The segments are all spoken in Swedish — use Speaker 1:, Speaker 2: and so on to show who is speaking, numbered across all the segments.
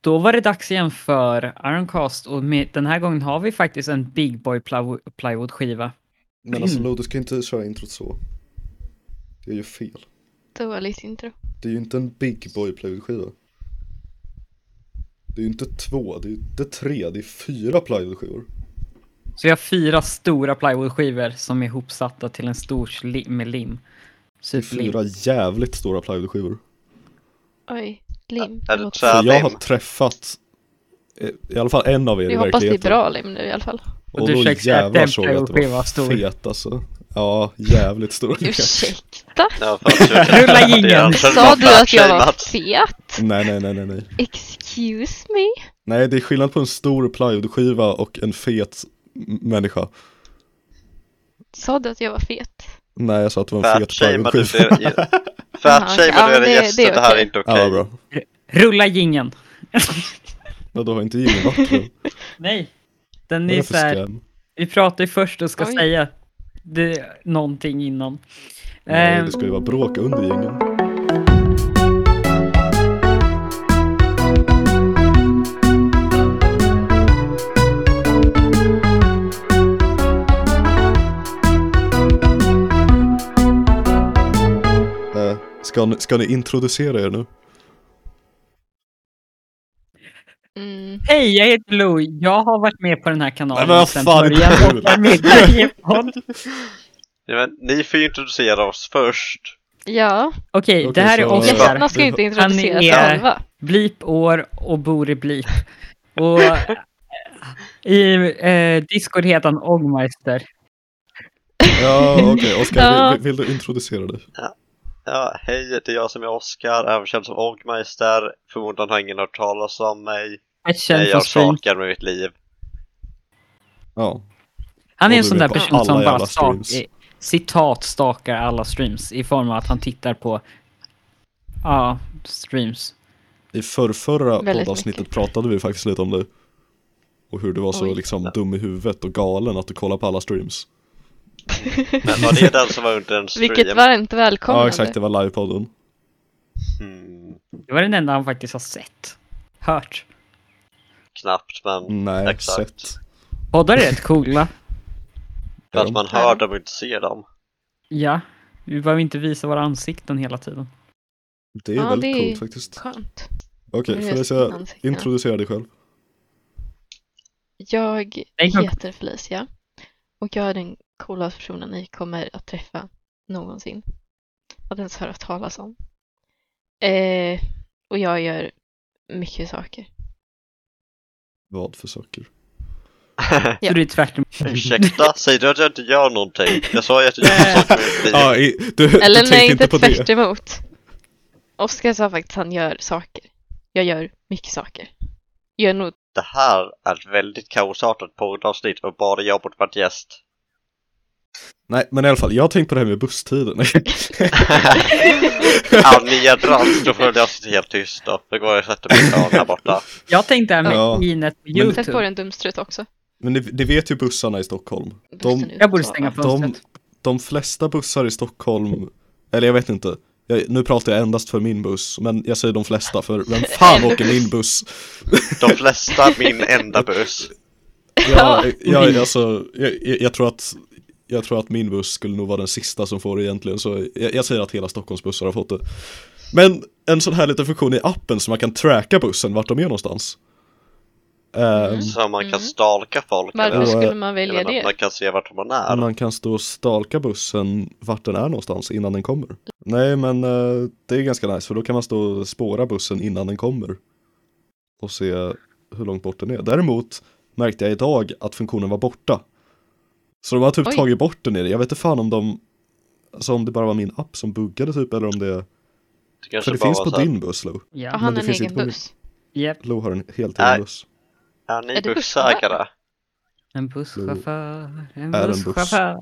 Speaker 1: Då var det dags igen för Ironcast och med, den här gången har vi faktiskt en Big Boy plywo- plywood-skiva.
Speaker 2: Men alltså Lo, du ska inte köra introt så. Jag gör fel.
Speaker 3: Dåligt intro.
Speaker 2: Det är ju inte en Big Boy plywoodskiva. Det är ju inte två, det är ju inte tre, det är fyra plywoodskivor.
Speaker 1: Så jag har fyra stora plywoodskivor som är ihopsatta till en stor sli- med lim. Typ
Speaker 2: Det är
Speaker 1: Superlim.
Speaker 2: fyra jävligt stora plywoodskivor.
Speaker 3: Oj, lim.
Speaker 4: Är
Speaker 3: Förlåt.
Speaker 4: det
Speaker 2: Så jag har
Speaker 4: tvärlim?
Speaker 2: träffat eh, i alla fall en av er i
Speaker 3: Vi hoppas det är
Speaker 2: verkligheten.
Speaker 3: bra lim nu i alla fall.
Speaker 1: Och du ursäkta, den plywoodskivan var stor.
Speaker 2: fet alltså. Ja, jävligt stor.
Speaker 3: Ursäkta?
Speaker 4: Ja, fan, tjugo.
Speaker 1: Rulla jingeln.
Speaker 4: Det är alltså
Speaker 3: Sa du att jag var
Speaker 4: flatshavat.
Speaker 3: fet?
Speaker 2: Nej, nej, nej, nej, nej.
Speaker 3: Excuse me?
Speaker 2: Nej, det är skillnad på en stor plywoodskiva och en fet m- människa.
Speaker 3: Sa du att jag var fet?
Speaker 2: Nej, jag sa att det var en fet
Speaker 4: Fatshamear du
Speaker 2: plywoodskiva.
Speaker 4: era- fatshamear
Speaker 3: Ja,
Speaker 4: du era
Speaker 3: det- det
Speaker 4: gäster,
Speaker 3: är
Speaker 4: det här är
Speaker 3: okej.
Speaker 4: inte
Speaker 2: Ja, vad
Speaker 4: okej.
Speaker 2: bra.
Speaker 1: Rulla gingen.
Speaker 2: Ja, då har inte Jimmy varit med.
Speaker 1: Nej, den
Speaker 2: Vad är
Speaker 1: är
Speaker 2: det
Speaker 1: så
Speaker 2: för
Speaker 1: här.
Speaker 2: scam?
Speaker 1: Vi pratar ju först och ska
Speaker 3: Oj.
Speaker 1: säga det, någonting innan.
Speaker 2: Nej,
Speaker 1: Ehm,
Speaker 2: det skulle ju vara bråk under gängen. Eh, Ska ni, ska ni introducera er nu?
Speaker 3: Mm.
Speaker 1: Hej, jag heter Lou. Jag har varit med på den här kanalen
Speaker 2: Nej, men vad
Speaker 1: sedan
Speaker 2: fan,
Speaker 1: början
Speaker 2: det är
Speaker 1: och
Speaker 2: kul.
Speaker 1: är med i varje podd.
Speaker 4: Ja, men, ni får ju introducera oss först.
Speaker 3: Ja,
Speaker 1: Okej, det
Speaker 2: Okej,
Speaker 1: här är
Speaker 2: så-
Speaker 1: Oskar.
Speaker 3: gästerna ska ju inte introducera sig
Speaker 1: är-
Speaker 3: själva.
Speaker 1: Blip år och bor i Blip. Och i eh, Discord heter han Ogmeister.
Speaker 2: Ja, okej. Oskar,
Speaker 3: Ja.
Speaker 2: vill, vill du introducera dig?
Speaker 4: Ja, hej, det är jag som är Oskar, även känd som Ogmeister. Förmodligen har ingen hört talas om mig.
Speaker 1: Etchen
Speaker 4: Nej, jag
Speaker 1: Fosfin.
Speaker 4: sakar med mitt liv.
Speaker 2: Ja.
Speaker 1: Han är en
Speaker 2: Och du
Speaker 1: sån
Speaker 2: är
Speaker 1: där
Speaker 2: på
Speaker 1: person som
Speaker 2: alla
Speaker 1: bara
Speaker 2: jävla
Speaker 1: stak,
Speaker 2: streams.
Speaker 1: citat stakar alla streams i form av att han tittar på ja, streams.
Speaker 2: I förrförra
Speaker 3: Väldigt
Speaker 2: poddavsnittet
Speaker 3: mycket.
Speaker 2: pratade vi faktiskt lite om dig. Och hur du var så
Speaker 3: Oj.
Speaker 2: liksom dum i huvudet och galen att du kollar på alla streams.
Speaker 4: Men var det den som var under en stream?
Speaker 3: Vilket varmt
Speaker 2: Ja,
Speaker 3: välkomnande.
Speaker 2: exakt. Det var livepodden.
Speaker 4: Hmm,
Speaker 1: Det var den enda han faktiskt har sett. Hört.
Speaker 4: knappt, men
Speaker 2: Mm, Nej,
Speaker 4: exakt.
Speaker 2: sett.
Speaker 1: Poddar är rätt coola.
Speaker 4: För att man hör dem och inte ser dem.
Speaker 1: Ja. Vi behöver inte visa våra ansikten hela tiden.
Speaker 2: Det är
Speaker 3: Ja,
Speaker 2: väldigt
Speaker 3: det är-
Speaker 2: coolt faktiskt.
Speaker 3: Skönt.
Speaker 2: Okej,
Speaker 3: Men
Speaker 2: okay,
Speaker 3: just
Speaker 2: Felicia,
Speaker 3: ansikten.
Speaker 2: introducera dig själv.
Speaker 3: Jag
Speaker 1: Nej, kom.
Speaker 3: heter Felicia och jag är den coolaste personen ni kommer att träffa någonsin. Att ens höra talas om. Eh, och jag gör mycket saker.
Speaker 2: Vad för saker?
Speaker 3: Ja.
Speaker 1: Så det är tvärtom.
Speaker 4: Ursäkta, säger du att jag inte gör någonting? Jag sa ju att jag gör saker med mitt liv.
Speaker 2: Ja, i, du,
Speaker 3: Eller
Speaker 2: du
Speaker 3: nej,
Speaker 2: tänkte
Speaker 3: inte
Speaker 2: inte på
Speaker 3: tvärt
Speaker 2: det.
Speaker 3: emot. Oskar sa faktiskt att han gör saker. Jag gör mycket saker. Gör nog...
Speaker 4: Det här är ett väldigt kaosartat poddavsnitt och bara jag borde varit gäst.
Speaker 2: Nej, men i alla fall, jag har tänkt på det här med busstiden.
Speaker 4: Anja Drantz, då får jag sitta helt tyst då. Då går jag och sätter mig i hörn här borta.
Speaker 1: Jag tänkte även
Speaker 2: Ja.
Speaker 1: på Inet på
Speaker 3: Sätt på
Speaker 1: YouTube.
Speaker 3: dig en dumstrut också.
Speaker 2: men ni, ni vet ju bussarna i Stockholm. De,
Speaker 3: Bussen ut
Speaker 1: Jag borde
Speaker 3: så.
Speaker 1: stänga
Speaker 2: de,
Speaker 1: fönstret.
Speaker 2: de flesta bussar i Stockholm, eller jag vet inte. Jag, nu pratar jag endast för min buss, men jag säger de flesta för vem fan åker min buss?
Speaker 4: De flesta, min enda buss.
Speaker 2: Jag, jag, alltså, jag, jag, jag, tror att, jag tror att min buss skulle nog vara den sista som får det egentligen, så jag, jag säger att hela Stockholms bussar har fått det. Men en sån här liten funktion i appen så man kan tracka bussen, vart de är någonstans. Ehm,
Speaker 4: Så man kan
Speaker 3: Mm.
Speaker 4: stalka folk.
Speaker 3: Varför
Speaker 2: Och, eh,
Speaker 4: eller?
Speaker 3: skulle man
Speaker 4: Jag
Speaker 3: välja
Speaker 4: menar,
Speaker 3: det?
Speaker 4: Man kan se vart man är.
Speaker 2: att man kan stå och stalka bussen vart den är någonstans innan den kommer. Nej men eh, det är ganska nice för då kan man stå och spåra bussen innan den kommer. Och se hur långt bort den är. Däremot märkte jag idag att funktionen var borta. Så de har typ
Speaker 3: Oj.
Speaker 2: tagit bort den i det. Jag vet inte fan om de Alltså om det bara var min app som buggade typ eller om det
Speaker 4: Det kanske
Speaker 2: För det
Speaker 4: bara
Speaker 2: finns
Speaker 4: var
Speaker 2: på
Speaker 4: så här,
Speaker 2: din buss Lo.
Speaker 3: Och
Speaker 1: Ja.
Speaker 2: men
Speaker 3: han
Speaker 2: det
Speaker 3: har en
Speaker 2: finns
Speaker 3: egen
Speaker 2: inte på min-
Speaker 3: buss.
Speaker 1: Japp.
Speaker 2: Lo har en helt
Speaker 4: Nej.
Speaker 2: egen buss.
Speaker 4: Är ni
Speaker 3: Är det
Speaker 4: bussägare?
Speaker 1: En busschaufför, en
Speaker 2: Är en buss.
Speaker 1: busschaufför.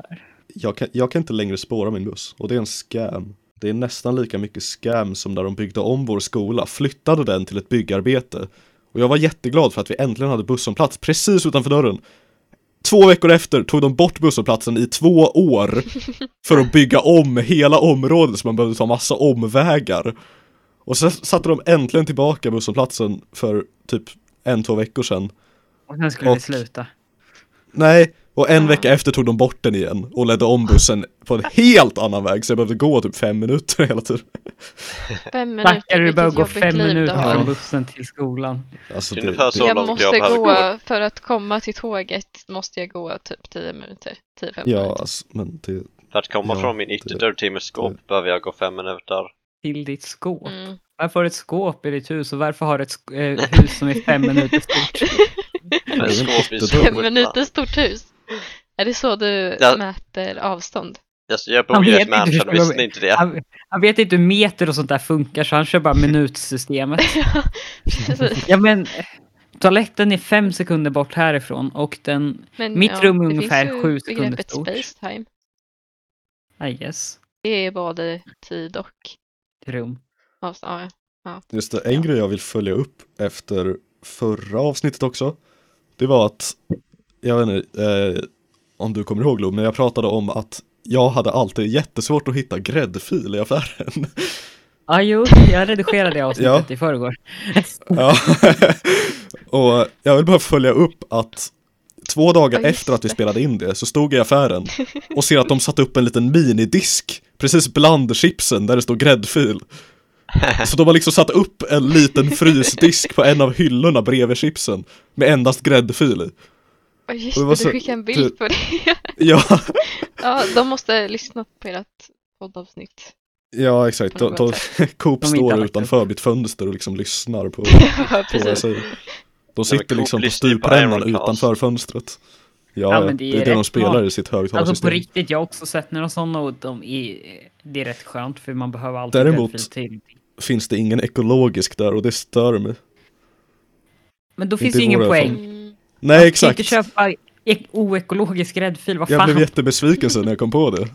Speaker 2: jag kan, jag kan inte längre spåra min buss och det är en scam. Det är nästan lika mycket scam som när de byggde om vår skola, flyttade den till ett byggarbete. Och jag var jätteglad för att vi äntligen hade busshållplats precis utanför dörren. Två veckor efter tog de bort busshållplatsen i två år för att bygga om hela området så man behövde ta massa omvägar. Och sen satte de äntligen tillbaka busshållplatsen för typ en, två veckor sedan.
Speaker 1: Och sen skulle vi
Speaker 2: Och-
Speaker 1: sluta.
Speaker 2: Nej, och en
Speaker 3: Ja.
Speaker 2: vecka efter tog de bort den igen och ledde om bussen på en helt annan väg så jag behövde gå typ fem minuter hela tiden.
Speaker 3: Fem minuter,
Speaker 1: Backar du
Speaker 3: vilket
Speaker 1: behöver gå
Speaker 3: jobbigt
Speaker 1: fem
Speaker 3: liv du
Speaker 1: minuter
Speaker 3: har.
Speaker 1: från bussen till skolan.
Speaker 2: Alltså,
Speaker 4: Det är ungefär så.
Speaker 3: Jag
Speaker 4: långt
Speaker 3: måste
Speaker 4: jag behöver
Speaker 3: gå, för att komma till tåget måste jag gå typ 10 minuter, 10-15
Speaker 2: Ja,
Speaker 3: minuter.
Speaker 2: alltså, men det,
Speaker 4: För att komma
Speaker 2: Ja,
Speaker 4: från min ytterdörr till mitt skåp behöver jag gå fem minuter.
Speaker 1: Till ditt skåp.
Speaker 3: Mm.
Speaker 1: Varför har du ett skåp i ditt hus och varför har du ett sk- eh, hus som är fem minuter stort?
Speaker 2: är
Speaker 4: Men
Speaker 2: en
Speaker 4: skåp i
Speaker 2: ytterdörr.
Speaker 4: skåpet.
Speaker 3: Fem minuter stort hus. Är det så du
Speaker 4: Ja.
Speaker 3: mäter avstånd?
Speaker 4: Jag- Jag
Speaker 1: Han
Speaker 4: bor ju i
Speaker 1: vet
Speaker 4: ett
Speaker 1: inte hur
Speaker 4: mansion,
Speaker 1: stora-
Speaker 4: visste ni inte det?
Speaker 1: Han, han vet inte hur meter och sånt där funkar så han kör bara minutsystemet.
Speaker 3: Ja, precis.
Speaker 1: Ja men, eh, toaletten är fem sekunder bort härifrån och den,
Speaker 3: Men,
Speaker 1: Mitt rum är
Speaker 3: det finns
Speaker 1: ungefär
Speaker 3: ju
Speaker 1: sju sekunder
Speaker 3: begreppet
Speaker 1: stort.
Speaker 3: space time.
Speaker 1: I guess,
Speaker 3: Det är både tid och
Speaker 1: rum.
Speaker 3: avstånd. Ja,
Speaker 2: Just det, en grej jag vill följa upp efter förra avsnittet också. Det var att, jag vet inte eh, om du kommer ihåg Lo, men jag pratade om att jag hade alltid jättesvårt att hitta gräddfil i affären.
Speaker 1: Ja ah, jo, jag redigerade det avsnittet i förrgår.
Speaker 2: ja. Och jag vill bara följa upp att två dagar
Speaker 3: Ja, just
Speaker 2: efter att vi
Speaker 3: det.
Speaker 2: spelade in det så stod jag i affären och ser att de satte upp en liten minidisk precis bland chipsen där det står gräddfil. Så de har liksom satt upp en liten frysdisk på en av hyllorna bredvid chipsen med endast gräddfil i.
Speaker 3: Och just
Speaker 2: Och det
Speaker 3: det,
Speaker 2: var
Speaker 3: du
Speaker 2: så-
Speaker 3: skickade en
Speaker 2: du-
Speaker 3: bild på det.
Speaker 2: Ja,
Speaker 3: Ja, de måste ha lyssnat på ert poddavsnitt.
Speaker 2: ja exakt. De, de, Coop
Speaker 1: De har inte
Speaker 2: står
Speaker 1: lagt
Speaker 2: utanför mitt fönster och liksom lyssnar på, på
Speaker 3: Ja,
Speaker 2: vad jag
Speaker 3: precis.
Speaker 2: säger. Alltså, De
Speaker 4: men
Speaker 2: sitter
Speaker 4: Coop
Speaker 2: liksom på
Speaker 4: lyssnar ju på
Speaker 2: stuprännan
Speaker 4: Iron Cast.
Speaker 2: utanför fönstret. Ja,
Speaker 1: Ja,
Speaker 2: ja,
Speaker 1: men
Speaker 2: det är det
Speaker 1: rätt
Speaker 2: de spelar
Speaker 1: smart.
Speaker 2: i sitt
Speaker 1: Alltså på
Speaker 2: högtalarsystem.
Speaker 1: riktigt, jag har också sett några sådana och de är, det är rätt skönt för man behöver alltid
Speaker 2: Däremot-
Speaker 1: gräddfil till.
Speaker 2: Finns det ingen ekologisk där och det stör mig.
Speaker 1: Men då
Speaker 2: Inte
Speaker 1: finns
Speaker 2: i
Speaker 1: ju ingen
Speaker 2: våra fall.
Speaker 1: poäng.
Speaker 3: Mm.
Speaker 2: Nej,
Speaker 1: Du kan ju
Speaker 2: exakt.
Speaker 1: inte köpa ek- oekologisk gräddfil, vad
Speaker 2: Jag
Speaker 1: fan.
Speaker 2: blev jättebesviken sen när jag kom på det.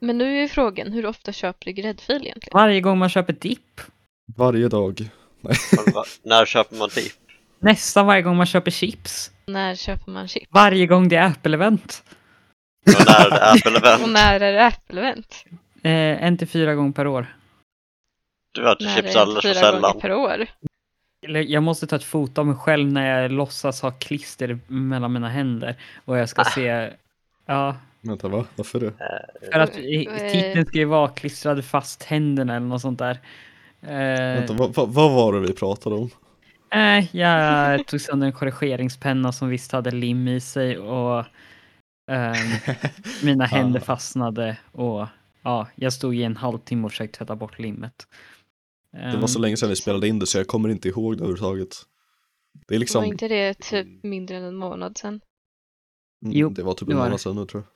Speaker 3: Men nu är ju frågan, hur ofta köper du gräddfil egentligen?
Speaker 1: Varje gång man köper dipp.
Speaker 2: Varje dag.
Speaker 4: Men va- När köper man dipp?
Speaker 1: Nästan varje gång man köper chips.
Speaker 3: När köper man chips?
Speaker 1: Varje gång det är Apple-event.
Speaker 4: Och när är det Apple
Speaker 3: Och
Speaker 4: event?
Speaker 3: när är det Apple-event?
Speaker 1: Eh, en till fyra gånger per år.
Speaker 4: Du äter
Speaker 3: När är
Speaker 4: chips
Speaker 3: det
Speaker 4: alldeles för
Speaker 3: fyra gånger
Speaker 4: sällan.
Speaker 3: per år?
Speaker 1: Eller Jag måste ta ett foto av mig själv när jag låtsas ha klister mellan mina händer. Och jag ska se... Ja,
Speaker 2: Vänta, va? Varför det?
Speaker 1: för att
Speaker 3: Eh,
Speaker 1: i-
Speaker 3: eh.
Speaker 1: titeln ska ju vara klistrade fast händerna eller något sånt där. Eh,
Speaker 2: Vänta, vad, vad, vad var det vi pratade om?
Speaker 1: Eh, jag tog sönder en korrigeringspenna som visst hade lim i sig och ehm, mina händer
Speaker 2: Ah.
Speaker 1: fastnade och ja, jag stod i en halvtimme och försökte tvätta bort limmet. Ehm,
Speaker 2: Det var så länge sedan vi spelade in det så jag kommer inte ihåg det överhuvudtaget. Det är liksom,
Speaker 3: Var inte det typ mindre än en månad sedan?
Speaker 2: mm,
Speaker 1: Jo,
Speaker 2: det var typ
Speaker 1: det
Speaker 2: en
Speaker 1: var det.
Speaker 2: månad sedan nu tror jag.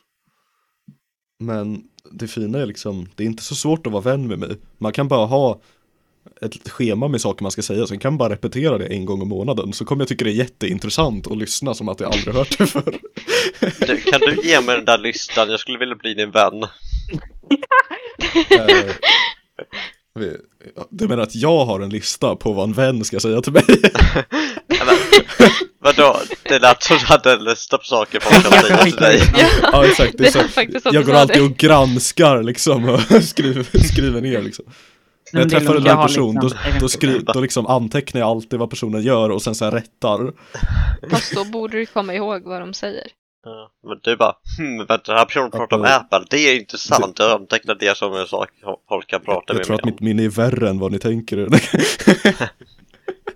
Speaker 2: Men det fina är liksom, det är inte så svårt att vara vän med mig. Man kan bara ha ett schema med saker man ska säga, sen kan man bara repetera det en gång i månaden så kommer jag tycka det är jätteintressant att lyssna som att jag aldrig hört det förr.
Speaker 4: Du, kan du ge mig den där listan? Jag skulle vilja bli din vän.
Speaker 2: Eh, vi- ja, Du menar att jag har en lista på vad en vän ska säga till mig?
Speaker 4: Ja, men- Vadå? Det lät som du hade en lista på saker folk kan säga till dig.
Speaker 3: Ja,
Speaker 2: ja exakt, det är
Speaker 3: det var
Speaker 2: så.
Speaker 3: faktiskt som
Speaker 2: Jag
Speaker 3: du
Speaker 2: går
Speaker 3: sa
Speaker 2: alltid
Speaker 3: det.
Speaker 2: och granskar liksom och skriver, skriver ner liksom. När jag träffar en ny
Speaker 1: liksom
Speaker 2: person då, då, skri, då liksom antecknar jag alltid vad personen gör och sen så här rättar.
Speaker 3: Fast då borde du komma ihåg vad de säger.
Speaker 4: Ja, Men du bara, hmm, vänta den här personen pratar om Apple, det är intressant. Jag antecknar det som en sak folk kan prata
Speaker 2: Jag
Speaker 4: med
Speaker 2: tror
Speaker 4: mig
Speaker 2: att
Speaker 4: om.
Speaker 2: mitt minne är värre än vad ni tänker. Nej,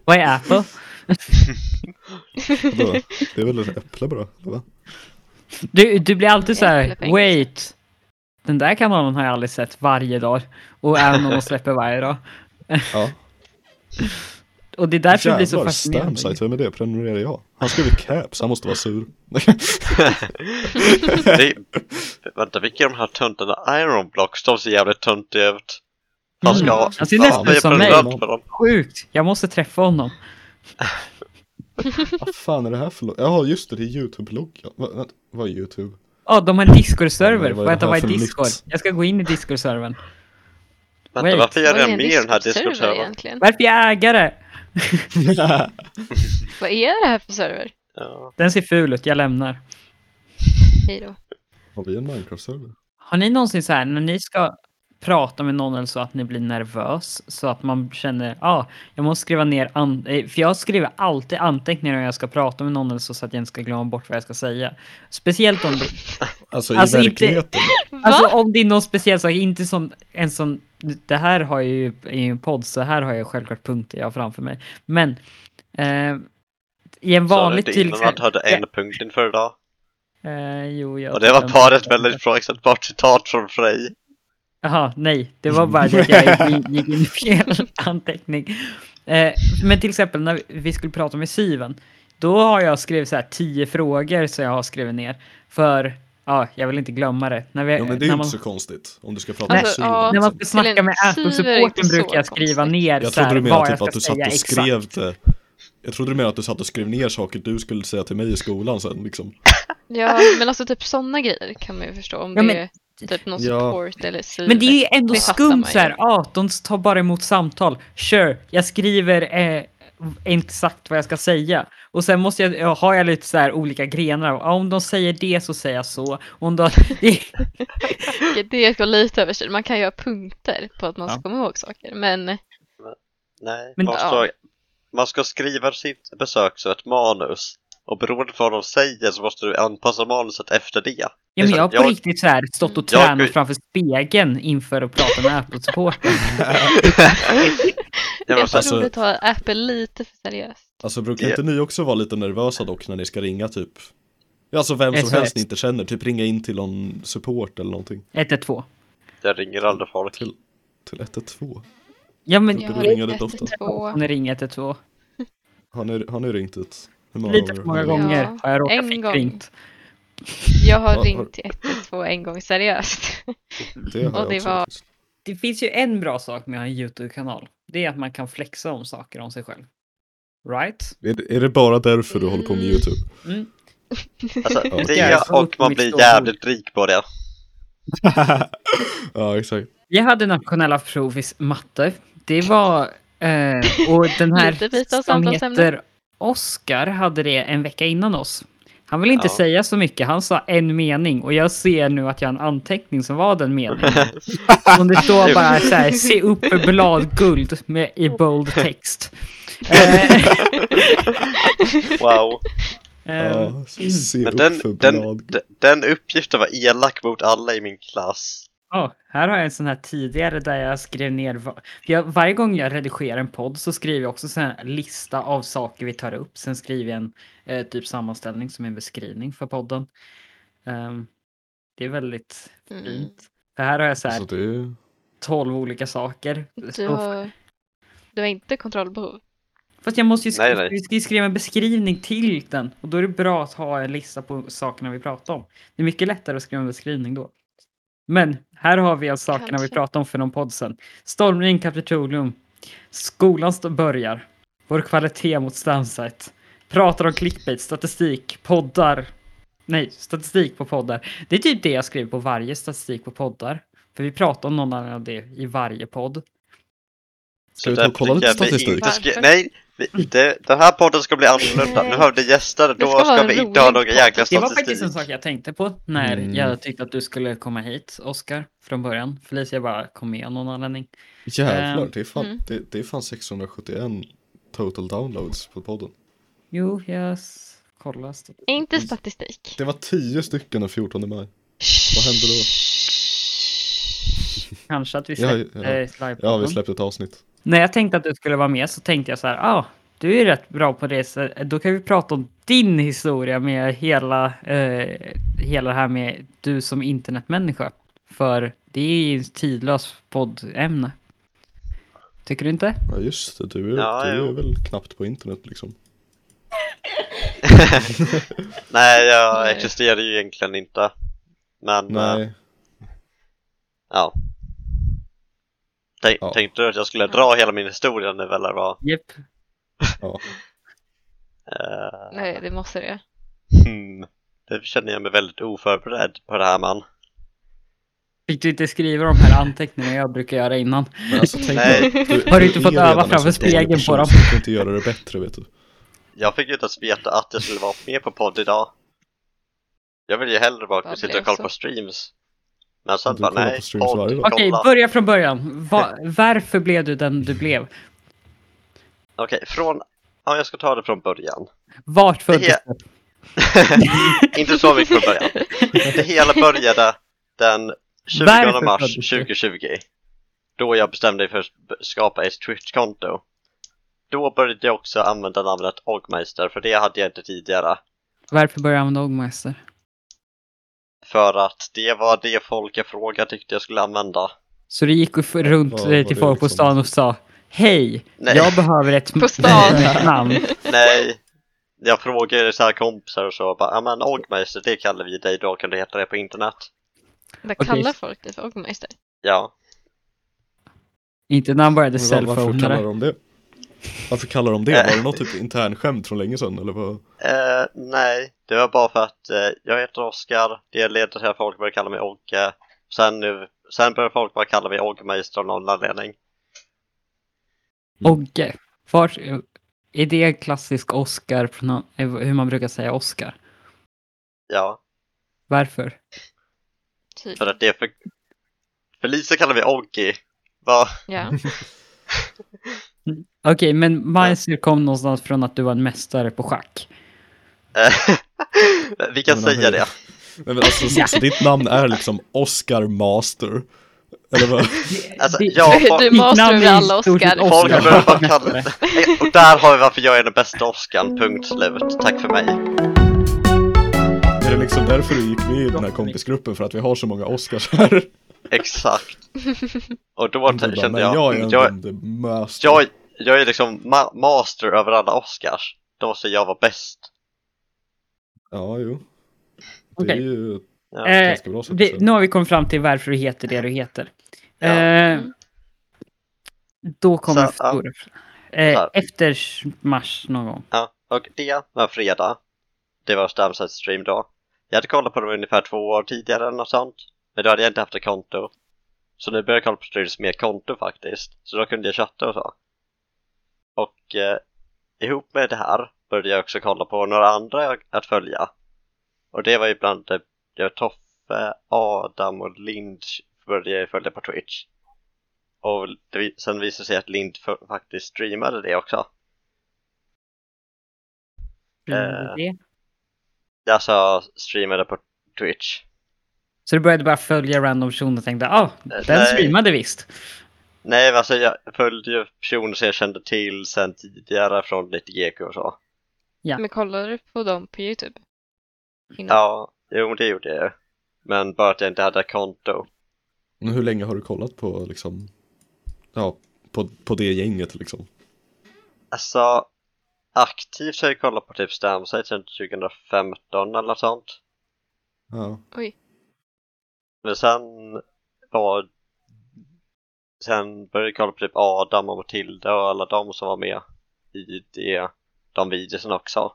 Speaker 1: Vad är Apple?
Speaker 2: vadå? det är väl ett äpple bara? eller va?
Speaker 1: Du, du blir alltid så
Speaker 3: Äpple på
Speaker 1: här,
Speaker 3: engelska.
Speaker 1: wait. Den där kanalen har jag aldrig sett varje dag. Och även om de släpper varje dag.
Speaker 2: Ja.
Speaker 1: Och det är därför det blir så
Speaker 2: Jävlar,
Speaker 1: fascinerande.
Speaker 2: Stamsite, vem är det? Prenumererar jag? Han skriver caps, han måste vara sur.
Speaker 4: Det är, vänta, vilka är de här töntarna? Ironblocks, de ser jävligt töntiga ut. Han ska
Speaker 1: Mm.
Speaker 4: ha...
Speaker 1: Han ser nästan
Speaker 4: jag är
Speaker 1: som mig.
Speaker 4: prenumerant på dem.
Speaker 1: Sjukt, jag måste träffa honom.
Speaker 2: Vad fan är det här för logg? Ja just det, det är YouTube-logg. Ja, va- vänta, Vad är YouTube?
Speaker 1: Ja, de har en Discord-server.
Speaker 2: Ja, men
Speaker 1: Får
Speaker 2: vad är
Speaker 1: jag ta
Speaker 2: det här
Speaker 1: vad är
Speaker 2: för
Speaker 1: Discord?
Speaker 2: nytt?
Speaker 1: Jag ska gå in i Discord-servern.
Speaker 4: Vänta,
Speaker 1: Wait.
Speaker 4: varför är jag
Speaker 3: Vad
Speaker 4: redan med i den här
Speaker 3: Discord-server
Speaker 4: Discord-servern?
Speaker 3: egentligen?
Speaker 1: Varför är jag ägare?
Speaker 3: Vad är det här för server?
Speaker 4: Ja.
Speaker 1: Den ser ful ut, jag lämnar.
Speaker 3: Hej då.
Speaker 2: Har vi en Minecraft-server?
Speaker 1: Har ni någonsin så här, när ni ska, prata med någon eller så att ni blir nervös så att man känner ja, ah, jag måste skriva ner an- eh, för jag skriver alltid anteckningar om jag ska prata med någon eller så, så att jag inte ska glömma bort vad jag ska säga. Speciellt om det,
Speaker 2: Alltså,
Speaker 1: Alltså,
Speaker 2: i
Speaker 1: inte-
Speaker 2: verkligheten.
Speaker 3: Va?
Speaker 1: alltså om det är någon speciell sak, inte som en sån, det här har jag ju i en podd, så här har jag självklart punkter jag har framför mig. Men eh, i en vanlig
Speaker 4: Sa du
Speaker 1: till
Speaker 4: inte innan att du hade en punkt inför idag?
Speaker 1: Eh, jo, jag
Speaker 4: Och det var
Speaker 1: tycker
Speaker 4: bara
Speaker 1: inte-
Speaker 4: ett väldigt bra exemplart citat från Frej.
Speaker 1: Jaha, nej, det var bara det att jag gick- gick in i fel anteckning. Eh, men till exempel när vi skulle prata med Syven, då har jag skrivit så här tio frågor som jag har skrivit ner. För, ja, jag vill inte glömma det. När, vi,
Speaker 2: Ja, men det är ju
Speaker 1: när,
Speaker 2: inte
Speaker 1: man,
Speaker 2: så konstigt om du ska prata
Speaker 3: Nej.
Speaker 2: med liksom.
Speaker 3: Alltså,
Speaker 2: Simon.
Speaker 3: ja.
Speaker 1: när man ska snacka
Speaker 3: en
Speaker 1: med
Speaker 3: syver är det inte
Speaker 1: Apple-supporten
Speaker 3: så
Speaker 1: brukar jag skriva
Speaker 3: konstigt.
Speaker 1: ner
Speaker 2: Jag
Speaker 1: så här,
Speaker 2: trodde du
Speaker 1: vad
Speaker 2: menade
Speaker 1: jag
Speaker 2: typ
Speaker 1: ska
Speaker 2: att du
Speaker 1: säga
Speaker 2: satt och
Speaker 1: exakt.
Speaker 2: skrev det. Jag trodde du menade att du satt och skrev ner saker du skulle säga till mig i skolan sen liksom.
Speaker 3: Ja, men alltså typ sådana grejer kan man ju förstå om
Speaker 1: Ja, men-
Speaker 3: det är typ någon
Speaker 2: Ja.
Speaker 3: support eller syre.
Speaker 1: Men det är ju ändå
Speaker 3: Det fattar
Speaker 1: skumt
Speaker 3: man ju.
Speaker 1: så här, ja, de tar bara emot samtal. Sure, jag skriver eh, exakt vad jag ska säga. Och sen måste jag, ja, har jag lite så här olika grenar. Ja, om de säger det så säger jag så. Om de, det,
Speaker 3: Okej, Det går lite överstyr. Man kan göra punkter på att man ska
Speaker 1: Ja.
Speaker 3: komma ihåg saker. Men
Speaker 4: Nej,
Speaker 1: Men-
Speaker 4: man, ska, man ska skriva sitt besök så ett manus. Och beroende på vad de säger så måste du anpassa manuset efter det. Liksom,
Speaker 1: ja, men jag har på
Speaker 4: Jag-
Speaker 1: riktigt så här stått och
Speaker 4: Jag-
Speaker 1: tränat framför spegeln inför att prata med Apple-supporten.
Speaker 4: Jag
Speaker 3: jag
Speaker 4: måste,
Speaker 3: tror
Speaker 2: alltså-
Speaker 3: vi tar Apple lite för seriöst.
Speaker 2: Alltså brukar inte ni också vara lite nervösa dock när ni ska ringa typ? Ja, Alltså vem som
Speaker 1: SOS.
Speaker 2: helst ni inte känner, typ ringa in till någon support eller någonting.
Speaker 1: 112.
Speaker 4: jag ringer aldrig folk.
Speaker 2: Till, till 112.
Speaker 1: Ja, men
Speaker 2: Jag
Speaker 1: jag
Speaker 2: har ringer lite ofta.
Speaker 3: ofta.
Speaker 1: har ringt 112.
Speaker 2: Har ni, har ni ringt dit? Hur
Speaker 1: Lite för många
Speaker 2: har ni ringt?
Speaker 1: gånger har jag råkat
Speaker 3: en
Speaker 1: fick
Speaker 3: gång.
Speaker 1: ringt.
Speaker 3: Jag
Speaker 2: Ja, har-
Speaker 3: har ringt till 112 en gång seriöst.
Speaker 2: Det har
Speaker 3: Och
Speaker 2: jag
Speaker 3: det
Speaker 2: också
Speaker 3: var-
Speaker 2: faktiskt.
Speaker 1: Det finns ju en bra sak med att ha en YouTube-kanal. Det är att man kan flexa om saker om sig själv. Right?
Speaker 2: Är, det- är det bara därför du håller på med
Speaker 3: Mm.
Speaker 2: YouTube?
Speaker 4: Alltså,
Speaker 2: Ja.
Speaker 4: det och man blir jävligt rik på det.
Speaker 2: ja, exakt.
Speaker 1: Jag hade nationella prov i matte. Det var... Eh, och den
Speaker 3: Lite
Speaker 1: här
Speaker 3: byte
Speaker 1: som
Speaker 3: av samtalsämne.
Speaker 1: heter Oscar hade det en vecka innan oss. Han ville inte
Speaker 4: Ja.
Speaker 1: säga så mycket, han sa en mening och jag ser nu att jag har en anteckning som var den meningen. Och det står bara så här, se upp för bladguld med, i bold text. Eh,
Speaker 4: Wow.
Speaker 1: eh,
Speaker 2: Ja, se
Speaker 4: Men
Speaker 2: upp
Speaker 4: den,
Speaker 2: för
Speaker 4: den,
Speaker 2: blad.
Speaker 4: d- den uppgiften var elak mot alla i min klass.
Speaker 1: Ja, här har jag en sån här tidigare där jag skrev ner. va- För jag, varje gång jag redigerar en podd så skriver jag också sån här lista av saker vi tar upp. Sen skriver jag en eh, typ sammanställning som en beskrivning för podden. Ehm, det är väldigt
Speaker 3: Mm.
Speaker 1: fint. För här har jag så här
Speaker 2: Alltså det är...
Speaker 1: 12 olika saker.
Speaker 3: Du,
Speaker 1: Så-
Speaker 3: har, du har inte kontrollbehov.
Speaker 1: Fast jag måste ju
Speaker 4: Nej,
Speaker 1: skriva,
Speaker 4: nej.
Speaker 1: Vi ska ju skriva en beskrivning till den och då är det bra att ha en lista på sakerna vi pratar om. Det är mycket lättare att skriva en beskrivning då. Men här har vi alltså sakerna vi
Speaker 3: Kanske.
Speaker 1: pratar om för någon podd sen. Stormning Kapitolium. Skolan st- börjar. Vår kvalitet mot stamsite. Pratar om clickbait, statistik, poddar. Nej, statistik på poddar. Det är typ det jag skriver på varje statistik på poddar. För vi pratar om någon annan av det i varje podd.
Speaker 2: Ska vi ta och kolla lite
Speaker 4: tycker jag vi
Speaker 2: statistik?
Speaker 4: inte ska-
Speaker 3: Varför?
Speaker 4: Nej, vi, det, den här podden ska bli annorlunda. Nu har vi gäster,
Speaker 3: Det
Speaker 4: då
Speaker 3: ska
Speaker 4: ska,
Speaker 3: vara en
Speaker 4: vi inte ha
Speaker 3: rolig
Speaker 4: några
Speaker 3: podd.
Speaker 4: jäkla
Speaker 1: Det var
Speaker 4: statistik.
Speaker 1: faktiskt en sak jag tänkte på när
Speaker 2: Mm.
Speaker 1: jag tyckte att du skulle komma hit, Oskar, från början. Felicia bara kom med av någon anledning.
Speaker 2: Jävlar,
Speaker 1: Ehm,
Speaker 2: det, är fan,
Speaker 3: mm.
Speaker 2: det, det är fan 671 total downloads på podden.
Speaker 1: Jo, jag s- kollar. statistik.
Speaker 3: Inte statistik.
Speaker 2: Det var 10 stycken den 14 maj. Vad hände då?
Speaker 1: Kanske att vi
Speaker 2: Ja, ja.
Speaker 1: släppte eh, livepodden.
Speaker 2: Ja, vi släppte ett avsnitt.
Speaker 1: När jag tänkte att du skulle vara med så tänkte jag så här, ja, ah, du är ju rätt bra på det, så då kan vi prata om din historia med hela, eh, hela det här med du som internetmänniska. För det är ju ett tidlöst poddämne. Tycker du inte?
Speaker 2: Ja, just det, du är,
Speaker 4: Ja,
Speaker 2: du är
Speaker 4: jo.
Speaker 2: väl knappt på internet liksom.
Speaker 4: Nej, jag
Speaker 3: Nej.
Speaker 4: existerar ju egentligen inte. Men, eh,
Speaker 2: Nej,
Speaker 4: ja. Tänk,
Speaker 2: Ja.
Speaker 4: Tänkte du att jag skulle dra hela min historia nu eller vad?
Speaker 1: Japp.
Speaker 2: ja.
Speaker 4: Eh,
Speaker 3: Nej, det måste det.
Speaker 4: hmm. Nu känner jag mig väldigt oförberedd på det här man.
Speaker 1: Fick du inte skriva de här anteckningarna jag brukar göra innan?
Speaker 2: Men alltså, tänk
Speaker 4: Nej.
Speaker 2: bara, du,
Speaker 1: Har du inte
Speaker 2: är
Speaker 1: fått öva
Speaker 2: redan liksom en
Speaker 1: framför
Speaker 2: så dålig
Speaker 1: spegeln på
Speaker 2: person,
Speaker 1: dem?
Speaker 2: så Du kan inte göra det bättre, vet du.
Speaker 4: Jag fick ju inte ens veta att jag skulle vara med på podd idag. Jag vill ju hellre bara
Speaker 3: Vad
Speaker 4: sitta
Speaker 3: blev
Speaker 4: och kolla
Speaker 3: så?
Speaker 4: på streams. Men sen
Speaker 2: Du
Speaker 4: bara,
Speaker 2: kollar
Speaker 4: nej,
Speaker 2: på streams varje
Speaker 4: podd,
Speaker 2: dag.
Speaker 4: kolla.
Speaker 1: Okej, börja från början. Va, varför blev du den du blev?
Speaker 4: Okej, från... Ja, jag ska ta det från början.
Speaker 1: Vart föddes
Speaker 4: Det-
Speaker 1: du?
Speaker 4: Inte så mycket från början. Det hela började den 20
Speaker 1: Varför
Speaker 4: mars
Speaker 1: föddes du?
Speaker 4: 2020. Då jag bestämde mig för att b- skapa ett Twitch-konto. Då började jag också använda namnet Ogmeister, för det hade jag inte tidigare.
Speaker 1: Varför började du använda Ogmeister?
Speaker 4: För att det var det folk jag frågade tyckte jag skulle använda.
Speaker 1: Så du gick och f- runt
Speaker 2: Vad
Speaker 1: till
Speaker 2: var det
Speaker 1: folk på
Speaker 2: liksom?
Speaker 1: stan och sa Hej,
Speaker 4: Nej.
Speaker 1: jag behöver ett
Speaker 3: På stan.
Speaker 1: ett namn.
Speaker 4: Nej, jag frågade så här kompisar och så bara, ja men Ogmeister, det kallar vi dig, då kan du heta det på internet.
Speaker 3: Vad
Speaker 1: Okej.
Speaker 3: kallar folk det för Ogmeister?
Speaker 4: Ja,
Speaker 1: Inte när han började
Speaker 2: Men va- varför kallar
Speaker 1: cellphonare.
Speaker 2: de det? Varför kallar de det? Var det något typ internskämt från länge sedan eller vad?
Speaker 4: Eh, nej, det var bara för att eh, jag heter Oskar, det leder till att folk börjar kalla mig Ogge. Sen, nu, sen börjar folk bara kalla mig Oggmeister av någon anledning.
Speaker 1: Ogge. Vart, är det en klassisk Oscar, pronoun- eh, hur man brukar säga Oscar?
Speaker 4: Ja,
Speaker 1: Varför?
Speaker 3: Typ.
Speaker 4: för att det är för... Felicia kallar mig Oggi. Va?
Speaker 3: Ja.
Speaker 1: Okej, men Meister kom någonstans från att du var en mästare på schack.
Speaker 4: Eh, Vi kan
Speaker 2: Jag menar,
Speaker 4: säga
Speaker 2: hej.
Speaker 4: det.
Speaker 2: Nej, men alltså, så, så ditt namn är liksom Oscar Master? Eller vad?
Speaker 4: Alltså,
Speaker 1: Det-
Speaker 4: ja, fo-
Speaker 3: Du
Speaker 1: Mitt
Speaker 3: master
Speaker 1: namn
Speaker 3: över
Speaker 1: är
Speaker 3: alla
Speaker 1: i stort sett
Speaker 3: Oscar.
Speaker 1: Oscar.
Speaker 4: folk börjar bara kalla
Speaker 1: Mästare.
Speaker 4: Och där har vi varför jag är den bästa Oskarn, punkt slut. Tack för mig.
Speaker 2: Är det liksom därför du gick med i den här kompisgruppen? För att vi har så många Oscars här?
Speaker 4: Exakt. Och då
Speaker 2: Du bara,
Speaker 4: t- kände
Speaker 2: nej,
Speaker 4: jag,
Speaker 2: jag är
Speaker 4: jag,
Speaker 2: en
Speaker 4: jag,
Speaker 2: jag, the master.
Speaker 4: jag, jag är liksom ma- master över alla Oscars. Då måste jag vara bäst.
Speaker 2: Ja, jo. Det
Speaker 1: Okej.
Speaker 2: är ju ett
Speaker 4: Ja.
Speaker 1: Eh,
Speaker 2: ganska bra sätt att
Speaker 1: det,
Speaker 2: säga.
Speaker 1: nu har vi kommit fram till varför du heter det du heter.
Speaker 4: Ja.
Speaker 1: Eh,
Speaker 3: Mm.
Speaker 1: då kommer
Speaker 4: Så, ja.
Speaker 1: stora eh,
Speaker 4: Så.
Speaker 1: Efter mars någon gång.
Speaker 4: Ja, och det var fredag. Det var Stamsets stream då. Jag hade kollat på dem ungefär två år tidigare eller något sånt. Men då hade jag inte haft ett konto. Så nu började jag kolla på streams med konto faktiskt. Så då kunde jag chatta och så. Och eh, ihop med det här började jag också kolla på några andra jag, att följa. Och det var ju bland det, det var Toffe, Adam och Lind började jag följa på Twitch. Och det, vi- sen visade det sig att Lind f- faktiskt streamade det också. Eh.
Speaker 1: Det.
Speaker 4: Alltså streamade på Twitch.
Speaker 1: Så du började bara följa random personer och tänkte ah, den
Speaker 4: nej.
Speaker 1: streamade visst.
Speaker 4: Nej, alltså jag följde ju personer som jag kände till sen tidigare från lite GK och så.
Speaker 3: Men kollar du på dem på Youtube? Innan?
Speaker 4: Ja, jo det gjorde jag ju. Men bara att jag inte hade konto.
Speaker 2: Men hur länge har du kollat på liksom, ja, på, på det gänget liksom?
Speaker 4: Alltså, aktivt så har jag kollat på typ Stamsite sedan 2015 eller något sånt.
Speaker 2: Ja.
Speaker 3: Oj.
Speaker 4: Men sen var... Sen började jag kolla på typ Adam och Matilda och alla de som var med i det, de videorna också.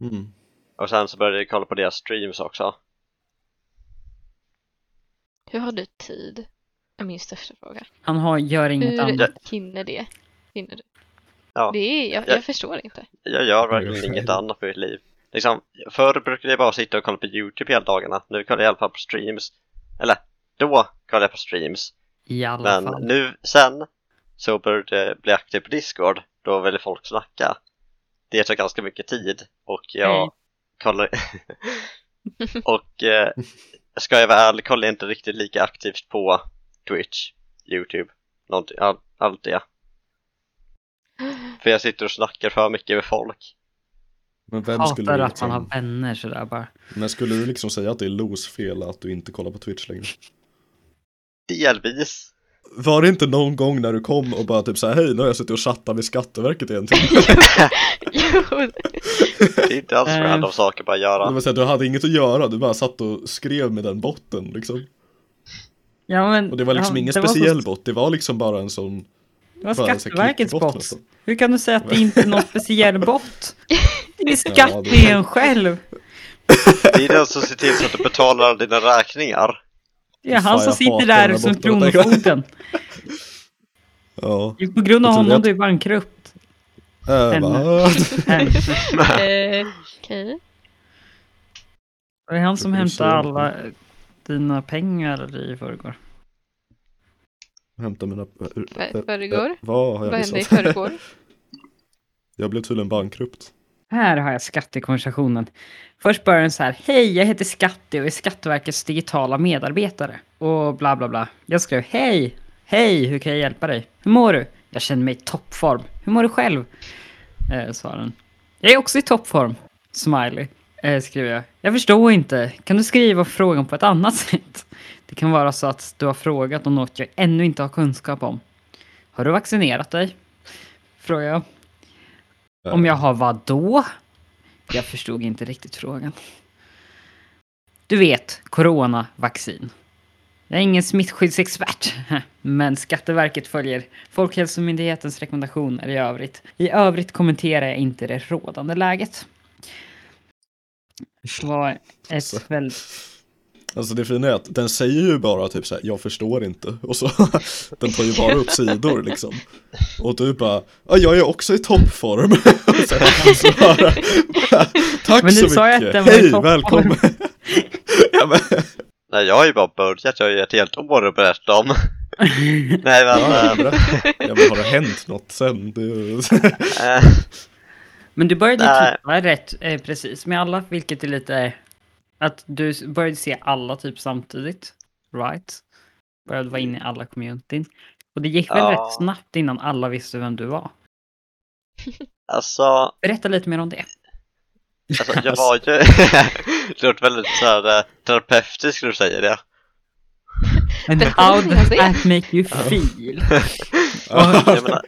Speaker 2: Mm.
Speaker 4: Och sen så började jag kolla på deras streams också.
Speaker 3: Hur har du tid? Är min största fråga.
Speaker 1: Han har, gör inget annat.
Speaker 3: Hur hinner det? Hinner du?
Speaker 4: Ja.
Speaker 3: Det är, jag,
Speaker 4: Jag-
Speaker 3: jag förstår inte.
Speaker 4: Jag gör
Speaker 2: Jag
Speaker 4: verkligen
Speaker 2: gör
Speaker 4: inget
Speaker 2: själv.
Speaker 4: annat på mitt liv. Liksom, förr brukade jag bara sitta och kolla på YouTube hela dagarna. Nu kollar jag i alla fall på streams. Eller, då kollade jag på streams.
Speaker 1: I alla
Speaker 4: Men
Speaker 1: fall.
Speaker 4: nu, sen, så började jag bli aktiv på Discord. Då ville folk snacka. Det tar ganska mycket tid och jag
Speaker 1: Hej.
Speaker 4: kollar... och eh, ska jag vara ärlig kollar jag inte riktigt lika aktivt på Twitch, YouTube, någonting, all, allt det. För jag sitter och snackar för mycket med folk.
Speaker 2: Men vem skulle
Speaker 1: Hatar
Speaker 2: du
Speaker 1: att man har
Speaker 2: liksom,
Speaker 1: vänner sådär bara.
Speaker 2: men skulle du liksom säga att det är Los fel att du inte kollar på Twitch längre?
Speaker 4: Delvis.
Speaker 2: Var det inte någon gång när du kom och bara typ såhär, hej nu har jag suttit och chattat med Skatteverket i en timme?
Speaker 3: Jo,
Speaker 4: Det är inte alls
Speaker 1: Eh.
Speaker 4: random saker bara
Speaker 2: Det
Speaker 4: göra.
Speaker 2: var så här, du hade inget att göra, du bara satt och skrev med den botten liksom.
Speaker 1: Ja, men,
Speaker 2: Och det var liksom
Speaker 1: ja,
Speaker 2: ingen
Speaker 1: det var så-
Speaker 2: speciell bot, det var liksom bara en sån
Speaker 1: Det var
Speaker 2: bara en sån
Speaker 1: Skatteverkets
Speaker 2: klickbot
Speaker 1: bot.
Speaker 2: nästan.
Speaker 1: Hur kan du säga att det inte är någon speciell bot? Det är
Speaker 2: Ja, det-
Speaker 1: skattingen själv.
Speaker 4: Det är den som ser till så att du betalar dina räkningar.
Speaker 1: Det är
Speaker 2: Fan,
Speaker 1: han som
Speaker 2: jag
Speaker 1: sitter
Speaker 2: hatar
Speaker 1: där
Speaker 2: den här
Speaker 1: som
Speaker 2: botten, tänker jag.
Speaker 1: kronofogden.
Speaker 2: Ja,
Speaker 1: Det är På grund av
Speaker 2: Jag
Speaker 1: honom
Speaker 2: trodde att-
Speaker 1: du är bankrupt.
Speaker 2: äh, va?
Speaker 1: Hem.
Speaker 3: eh, okej.
Speaker 1: Det är han som
Speaker 2: Jag
Speaker 1: hämtar
Speaker 2: tror så.
Speaker 1: alla dina pengar i förrgår?
Speaker 2: Hämta mina... Eh,
Speaker 3: För- förrgår?
Speaker 2: Vad har jag
Speaker 3: Vad hände i
Speaker 2: missat?
Speaker 3: förrgår?
Speaker 2: jag blev tydligen bankrupt.
Speaker 1: Här har jag skattekonversationen. Först börjar den så här. Hej, jag heter Skatte och är Skatteverkets digitala medarbetare. Och bla bla bla. Jag skrev hej. Hej, hur kan jag hjälpa dig? Hur mår du? Jag känner mig i toppform. Hur mår du själv? Eh, svarar den. Jag är också i toppform. Smiley. Eh, skriver jag. Jag förstår inte. Kan du skriva frågan på ett annat sätt? Det kan vara så att du har frågat om något jag ännu inte har kunskap om. Har du vaccinerat dig? Frågar jag. Om jag har vad då? Jag förstod inte riktigt frågan. Du vet, coronavaccin. Jag är ingen smittskyddsexpert, men Skatteverket följer Folkhälsomyndighetens rekommendationer i övrigt. I övrigt kommenterar jag inte det rådande läget. Det var
Speaker 2: Alltså.
Speaker 1: ett väldigt
Speaker 2: Alltså det fina är att den säger ju bara typ så här, jag förstår inte. Och så, den tar ju bara upp sidor liksom. Och du bara, ja jag är också i toppform. Och så här, och så bara, Tack
Speaker 1: Men
Speaker 2: så
Speaker 1: nu
Speaker 2: mycket,
Speaker 1: sa jag att den var i
Speaker 2: hej,
Speaker 1: toppform."
Speaker 2: välkommen. ja, men,
Speaker 4: Nej, jag har ju bara börjat. Jag har ju ett helt år att berätta om. Nej, men...
Speaker 2: ja,
Speaker 4: eh,
Speaker 2: bra. ja, men har det hänt något sen? Det,
Speaker 4: eh,
Speaker 1: Men du började
Speaker 4: Nej.
Speaker 1: tippa rätt eh, precis med alla, vilket är lite... Att du s- började se alla typ samtidigt. Right? Började vara inne i alla communityn. Och det gick väl
Speaker 4: Ja.
Speaker 1: rätt snabbt innan alla visste vem du var.
Speaker 4: alltså,
Speaker 1: Berätta lite mer om det.
Speaker 4: alltså, jag var ju... det låter väldigt så här, eh, terapeutiskt när du säger det.
Speaker 1: And
Speaker 3: Berätta
Speaker 1: how
Speaker 3: lite mer om
Speaker 1: does
Speaker 3: det.
Speaker 1: that make you feel?
Speaker 2: ja,
Speaker 4: Jag menar,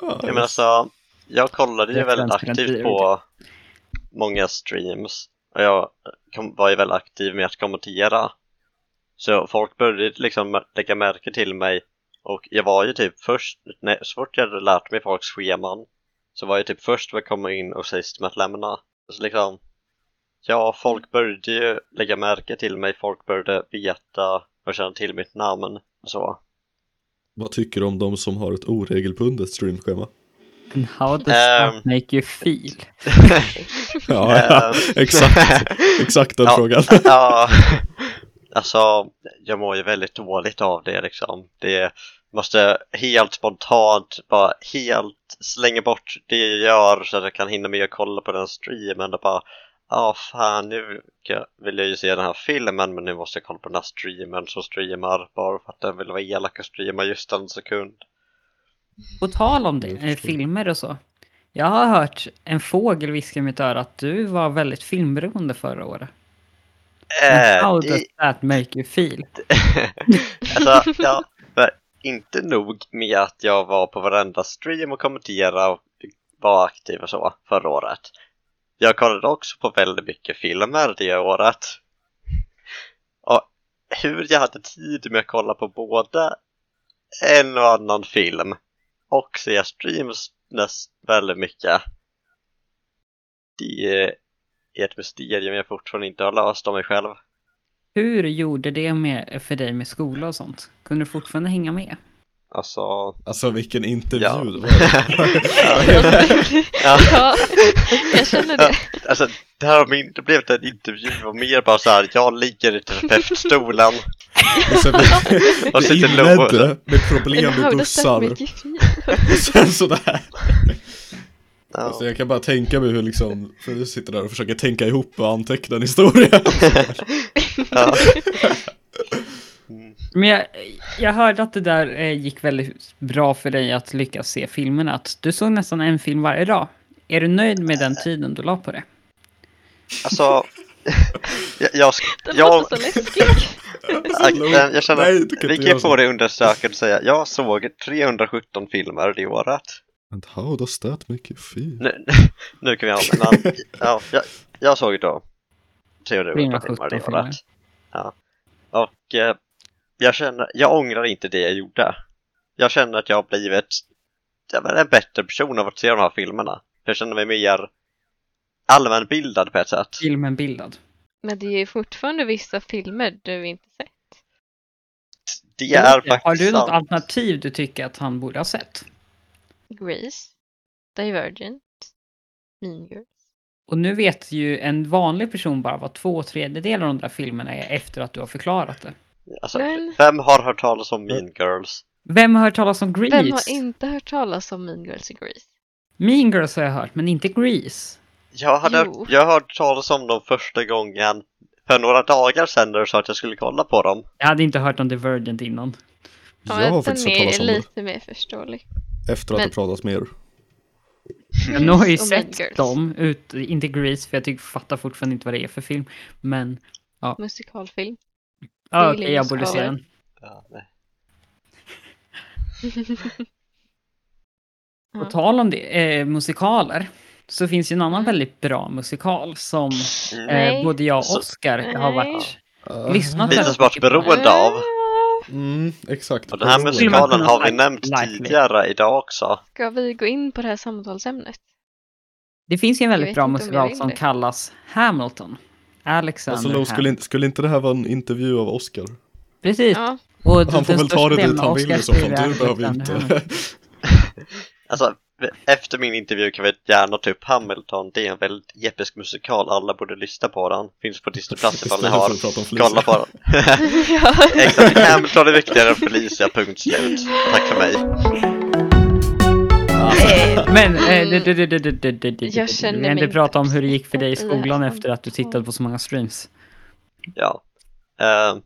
Speaker 4: jag menar så, jag kollade ju
Speaker 1: Referens
Speaker 4: väldigt
Speaker 1: till en
Speaker 4: aktivt
Speaker 1: tidigare
Speaker 4: på många streams och jag kom, var ju väldigt aktiv med att kommentera. Så folk började liksom mär- lägga märke till mig och jag var ju typ först, när, så fort jag hade lärt mig folks scheman så var jag typ först med att komma in och sist med att lämna. Så liksom, ja folk började ju lägga märke till mig, folk började veta och känna till mitt namn och så.
Speaker 2: Vad tycker du om de som har ett oregelbundet streamschema?
Speaker 1: And how does that
Speaker 4: Ehm.
Speaker 1: make you feel?
Speaker 2: Ja, ja, exakt, exakt den
Speaker 4: Ja.
Speaker 2: frågan.
Speaker 4: ja, alltså jag mår ju väldigt dåligt av det liksom. Det måste helt spontant bara helt slänga bort det jag gör så att jag kan hinna med att kolla på den streamen och bara Ja fan nu ska- vill jag ju se den här filmen men nu måste jag kolla på den här streamen som streamar bara för att den vill vara elak och streama just en sekund.
Speaker 1: På tal om det,
Speaker 2: Jag
Speaker 1: eh,
Speaker 2: förstår.
Speaker 1: filmer och så. Jag har hört en fågel viska i mitt öra att du var väldigt filmberoende förra året. And
Speaker 4: Äh,
Speaker 1: how
Speaker 4: det-
Speaker 1: does that make you feel?
Speaker 4: alltså, ja, för inte nog med att jag var på varenda stream och kommenterade och var aktiv och så förra året. Jag kollade också på väldigt mycket filmer det året. Och hur jag hade tid med att kolla på både en och annan film och se streams näst väldigt mycket. Det är ett mysterium jag fortfarande inte har löst om mig själv.
Speaker 1: Hur gjorde det med, för dig med skola och sånt? Kunde du fortfarande hänga med?
Speaker 4: Alltså,
Speaker 2: Alltså vilken intervju
Speaker 4: Ja.
Speaker 2: det var.
Speaker 4: ja.
Speaker 3: ja, jag känner det.
Speaker 4: Alltså, det här har inte blivit en intervju och mer bara så här, jag ligger i terapeutstolen
Speaker 2: Sen,
Speaker 4: och
Speaker 2: det
Speaker 4: sitter Lo...
Speaker 2: alltså, inledde med problem
Speaker 3: And how
Speaker 2: med
Speaker 3: does that
Speaker 2: bussar
Speaker 3: make you feel?
Speaker 2: och sen sådär.
Speaker 4: Ja.
Speaker 2: Alltså, jag kan bara tänka mig hur liksom, för du sitter där och försöker tänka ihop och anteckna en historia.
Speaker 4: Ja.
Speaker 1: Men jag, jag hörde att det där eh, gick väldigt bra för dig att lyckas se filmerna. Att du såg nästan en film varje dag. Är du nöjd med den tiden du la på det?
Speaker 4: Alltså, jag, jag,
Speaker 3: Den
Speaker 4: jag, eh,
Speaker 3: låter så läskig.
Speaker 4: jag, jag känner,
Speaker 2: Alltså, Nej, du kan
Speaker 4: vi
Speaker 2: inte göra
Speaker 4: kan
Speaker 2: så.
Speaker 4: få det undersöket och säga, jag såg 317 filmer det året.
Speaker 2: And how does that make you feel?
Speaker 4: Nu, nu kan vi ha, men ja, jag, jag såg då 317 filmer det
Speaker 1: 317
Speaker 4: året. Ja. Och eh, jag känner, jag ångrar inte det jag gjorde. Jag känner att jag har blivit jag menar, en bättre person av att se de här filmerna. Jag känner mig mer allmänbildad på ett sätt.
Speaker 1: Filmen bildad.
Speaker 3: Men det är ju fortfarande vissa filmer du inte sett.
Speaker 4: Det är
Speaker 1: Har du
Speaker 4: faktiskt
Speaker 1: något
Speaker 4: sant.
Speaker 1: alternativ du tycker att han borde ha sett?
Speaker 3: Grease, Divergent, Mean Girls.
Speaker 1: Och nu vet ju en vanlig person bara vad två tredjedelar av de där filmerna är efter att du har förklarat det.
Speaker 4: Alltså,
Speaker 3: Men-
Speaker 4: vem har hört talas om Mean Girls?
Speaker 1: Vem har hört talas om Grease?
Speaker 3: Vem har inte hört talas om Mean Girls i Grease?
Speaker 1: Mean Girls har jag hört, men inte Grease.
Speaker 4: Jag hade
Speaker 3: Jo.
Speaker 4: jag hört talas om dem första gången för några dagar sedan när du sa att jag skulle kolla på dem.
Speaker 1: Jag hade inte hört om Divergent innan.
Speaker 2: jag har
Speaker 3: den
Speaker 2: faktiskt hört
Speaker 3: är
Speaker 2: talas om det.
Speaker 3: lite mer förståelig.
Speaker 2: Efter att
Speaker 3: men-
Speaker 2: det pratats med er.
Speaker 1: Jag nu har ju
Speaker 3: Och Mean
Speaker 1: sett
Speaker 3: Girls.
Speaker 1: dem, ut, inte Grease, för jag tycker, fattar fortfarande inte vad det är för film. Men,
Speaker 3: Musikalfilm.
Speaker 1: ja,
Speaker 3: är
Speaker 1: okej, jag borde se
Speaker 3: Linus
Speaker 1: den.
Speaker 4: Ja, nej.
Speaker 1: På
Speaker 3: Ja.
Speaker 1: tal om det, eh, musikaler, så finns ju en annan väldigt bra musikal som eh,
Speaker 3: Nej.
Speaker 1: både jag och
Speaker 4: Så-
Speaker 1: Oskar har varit lyssnat
Speaker 4: Lite
Speaker 1: väldigt
Speaker 4: som vart
Speaker 1: mycket på.
Speaker 4: beroende Beroende av.
Speaker 2: Mm, exakt.
Speaker 4: Och den här
Speaker 2: Beroende.
Speaker 1: Skulle man
Speaker 4: musikalen
Speaker 1: kunna
Speaker 4: har vi
Speaker 1: sagt
Speaker 4: nämnt
Speaker 1: Like Me?
Speaker 4: tidigare idag också.
Speaker 3: Ska vi gå in på det här samtalsämnet?
Speaker 1: Det finns ju en väldigt
Speaker 3: vet
Speaker 1: bra
Speaker 3: inte om jag
Speaker 1: musikal
Speaker 3: vill
Speaker 1: som
Speaker 3: det.
Speaker 1: kallas Hamilton. Alexander
Speaker 2: Alltså, Lo, skulle,
Speaker 1: Hamilton.
Speaker 2: inte, skulle inte det här vara en intervju av Oscar?
Speaker 1: Precis.
Speaker 3: Ja,
Speaker 1: Och den
Speaker 2: Han får väl
Speaker 1: största
Speaker 2: ta det
Speaker 1: delen
Speaker 2: dit
Speaker 1: av
Speaker 2: han vill i
Speaker 1: Oscars
Speaker 2: så fall.
Speaker 1: liv är
Speaker 2: Du behöver ju
Speaker 1: Alexander Hamilton.
Speaker 2: inte.
Speaker 4: Alltså, efter min intervju kan vi gärna ta upp Hamilton. Det är en väldigt episk musikal. Alla borde lyssna på den. Finns på Disney Plus ifall ni
Speaker 2: Istället
Speaker 4: har.
Speaker 2: för att prata om Felicia.
Speaker 4: Kolla på den.
Speaker 3: ja.
Speaker 4: Exakt, Hamilton är viktigare än Felicia, punkt slut. Tack för mig.
Speaker 1: Men eh, du- du- du- du- du- du- du- du-
Speaker 3: Jag känner
Speaker 1: vi har inte
Speaker 3: mig
Speaker 1: pratat om
Speaker 3: inte
Speaker 1: hur det gick för dig i
Speaker 3: uppskattad i
Speaker 1: skolan
Speaker 3: det här
Speaker 1: efter att du tittade på så många streams.
Speaker 4: Ja. Eh,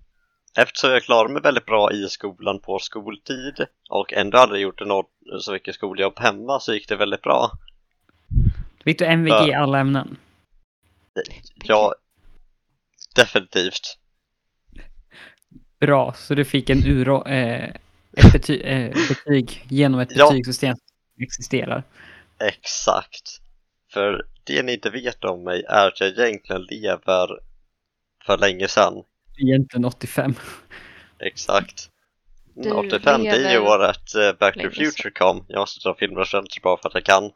Speaker 4: Eftersom jag klarade mig väldigt bra i skolan på skoltid och ändå aldrig gjort något, så mycket skoljobb hemma så gick det väldigt bra.
Speaker 1: Fick du MVG i alla ämnen?
Speaker 4: Ja, definitivt.
Speaker 1: Bra, så du fick en uro, eh, ett bety, eh, betyg genom ett
Speaker 4: Ja.
Speaker 1: betygssystem som existerar.
Speaker 4: Exakt. För det ni inte vet om mig är att jag egentligen lever för länge sedan.
Speaker 1: Egentligen 85.
Speaker 4: Exakt.
Speaker 3: Du
Speaker 4: 85, det är ju
Speaker 3: lever
Speaker 4: året eh, Back to the
Speaker 3: längre
Speaker 4: Future kom. Jag måste ta filmreferenser bara för att jag kan.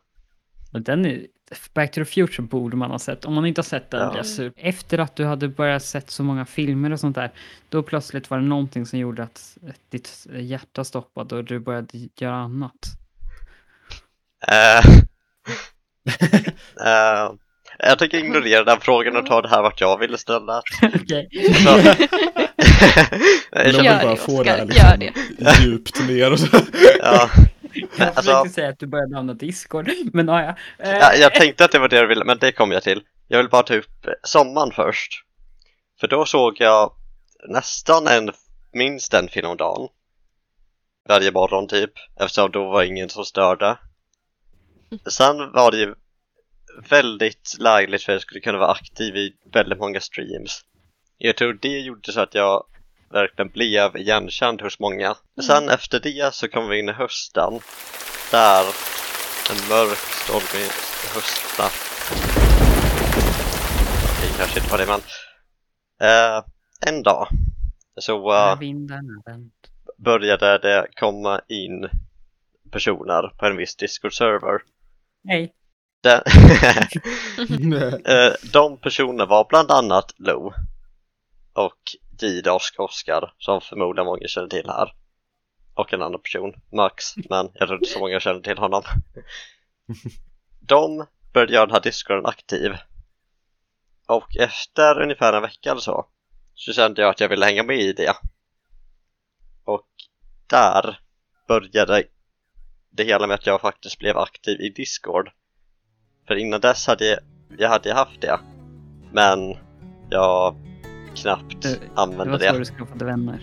Speaker 1: Men den är, Back to the Future borde man ha sett. Om man inte har sett den
Speaker 4: Ja.
Speaker 1: blir jag sur. Efter att du hade börjat sett så många filmer och sånt där, då plötsligt var det någonting som gjorde att ditt hjärta stoppade och du började göra annat.
Speaker 4: Eh, eh, jag tänker ignorera den frågan och ta det här vart jag ville ställa.
Speaker 1: Okej.
Speaker 4: Så, jag
Speaker 2: Jag
Speaker 4: känner,
Speaker 3: Gör
Speaker 2: vill bara
Speaker 3: det,
Speaker 2: få det här
Speaker 3: Oscar, gör
Speaker 2: liksom djupt ner och så.
Speaker 4: ja,
Speaker 1: Jag
Speaker 4: Alltså-
Speaker 1: försökte säga att du började använda Discord, men ja, ja. Eh,
Speaker 4: ja, jag tänkte att det var det jag ville, men det kom jag till. Jag vill bara ta upp eh, sommaren först. För då såg jag nästan en, minst en film om dagen. Varje morgon typ, eftersom då var ingen som störde. Sen var det ju väldigt lägligt för jag skulle kunna vara aktiv i väldigt många streams. Jag tror det gjorde så att jag verkligen blev igenkänd hos många. Sen efter det så kom vi in i hösten. Där en mörk stormig höstnatt. Okej, kanske inte var det men. Eh, en dag. Så eh,
Speaker 1: när vinden har vänt.
Speaker 4: började det komma in personer på en viss Discord-server.
Speaker 1: Nej.
Speaker 4: Den-
Speaker 2: Nej.
Speaker 4: Eh, de personerna var bland annat Lo och Gidosk Oskar som förmodligen många känner till här. Och en annan person, Max, men jag tror inte så många känner till honom. De började göra den här discorden aktiv. Och efter ungefär en vecka eller så, så kände jag att jag ville hänga med i det. Och där började det hela med att jag faktiskt blev aktiv i Discord. För innan dess hade jag jag hade ju haft det. Men jag knappt
Speaker 1: Eh, Det- Det
Speaker 4: använde
Speaker 1: var
Speaker 4: det.
Speaker 1: så du skaffade vänner.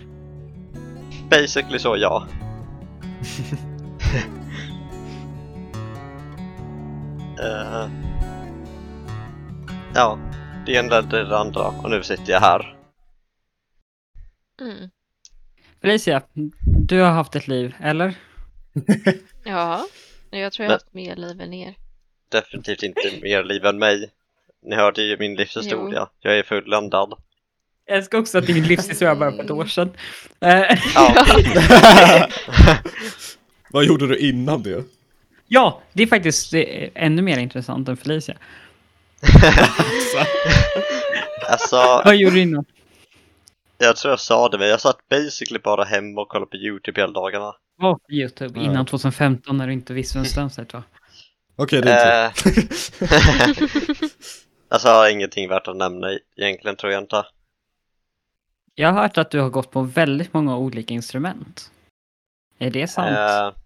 Speaker 4: Basically så ja. Eh, ja, det ena ledde till det andra och nu sitter jag här.
Speaker 3: Mm.
Speaker 1: Felicia, du har haft ett liv, eller?
Speaker 3: ja, jag tror jag har haft mer liv än er.
Speaker 4: Definitivt inte mer liv än mig. Ni hörde ju min livshistoria. Jag är fulländad.
Speaker 1: Jag älskar också att din livshistoria bara på ett år sedan. Eh,
Speaker 4: Ja,
Speaker 2: Vad gjorde du innan det?
Speaker 1: ja, det är faktiskt eh, ännu mer intressant än Felicia.
Speaker 4: alltså
Speaker 1: Vad gjorde du innan?
Speaker 4: jag tror jag sa det men jag satt basically bara hemma och kollade på YouTube hela dagarna.
Speaker 1: Vad på YouTube
Speaker 2: Ja.
Speaker 1: innan 2015 när du inte visste vem Stamsite var?
Speaker 2: Okej, det är inte.
Speaker 3: Eh.
Speaker 4: Eh, alltså ingenting värt att nämna e- egentligen tror jag inte.
Speaker 1: Jag har hört att du har gått på väldigt många olika instrument. Är det sant?
Speaker 4: Eh,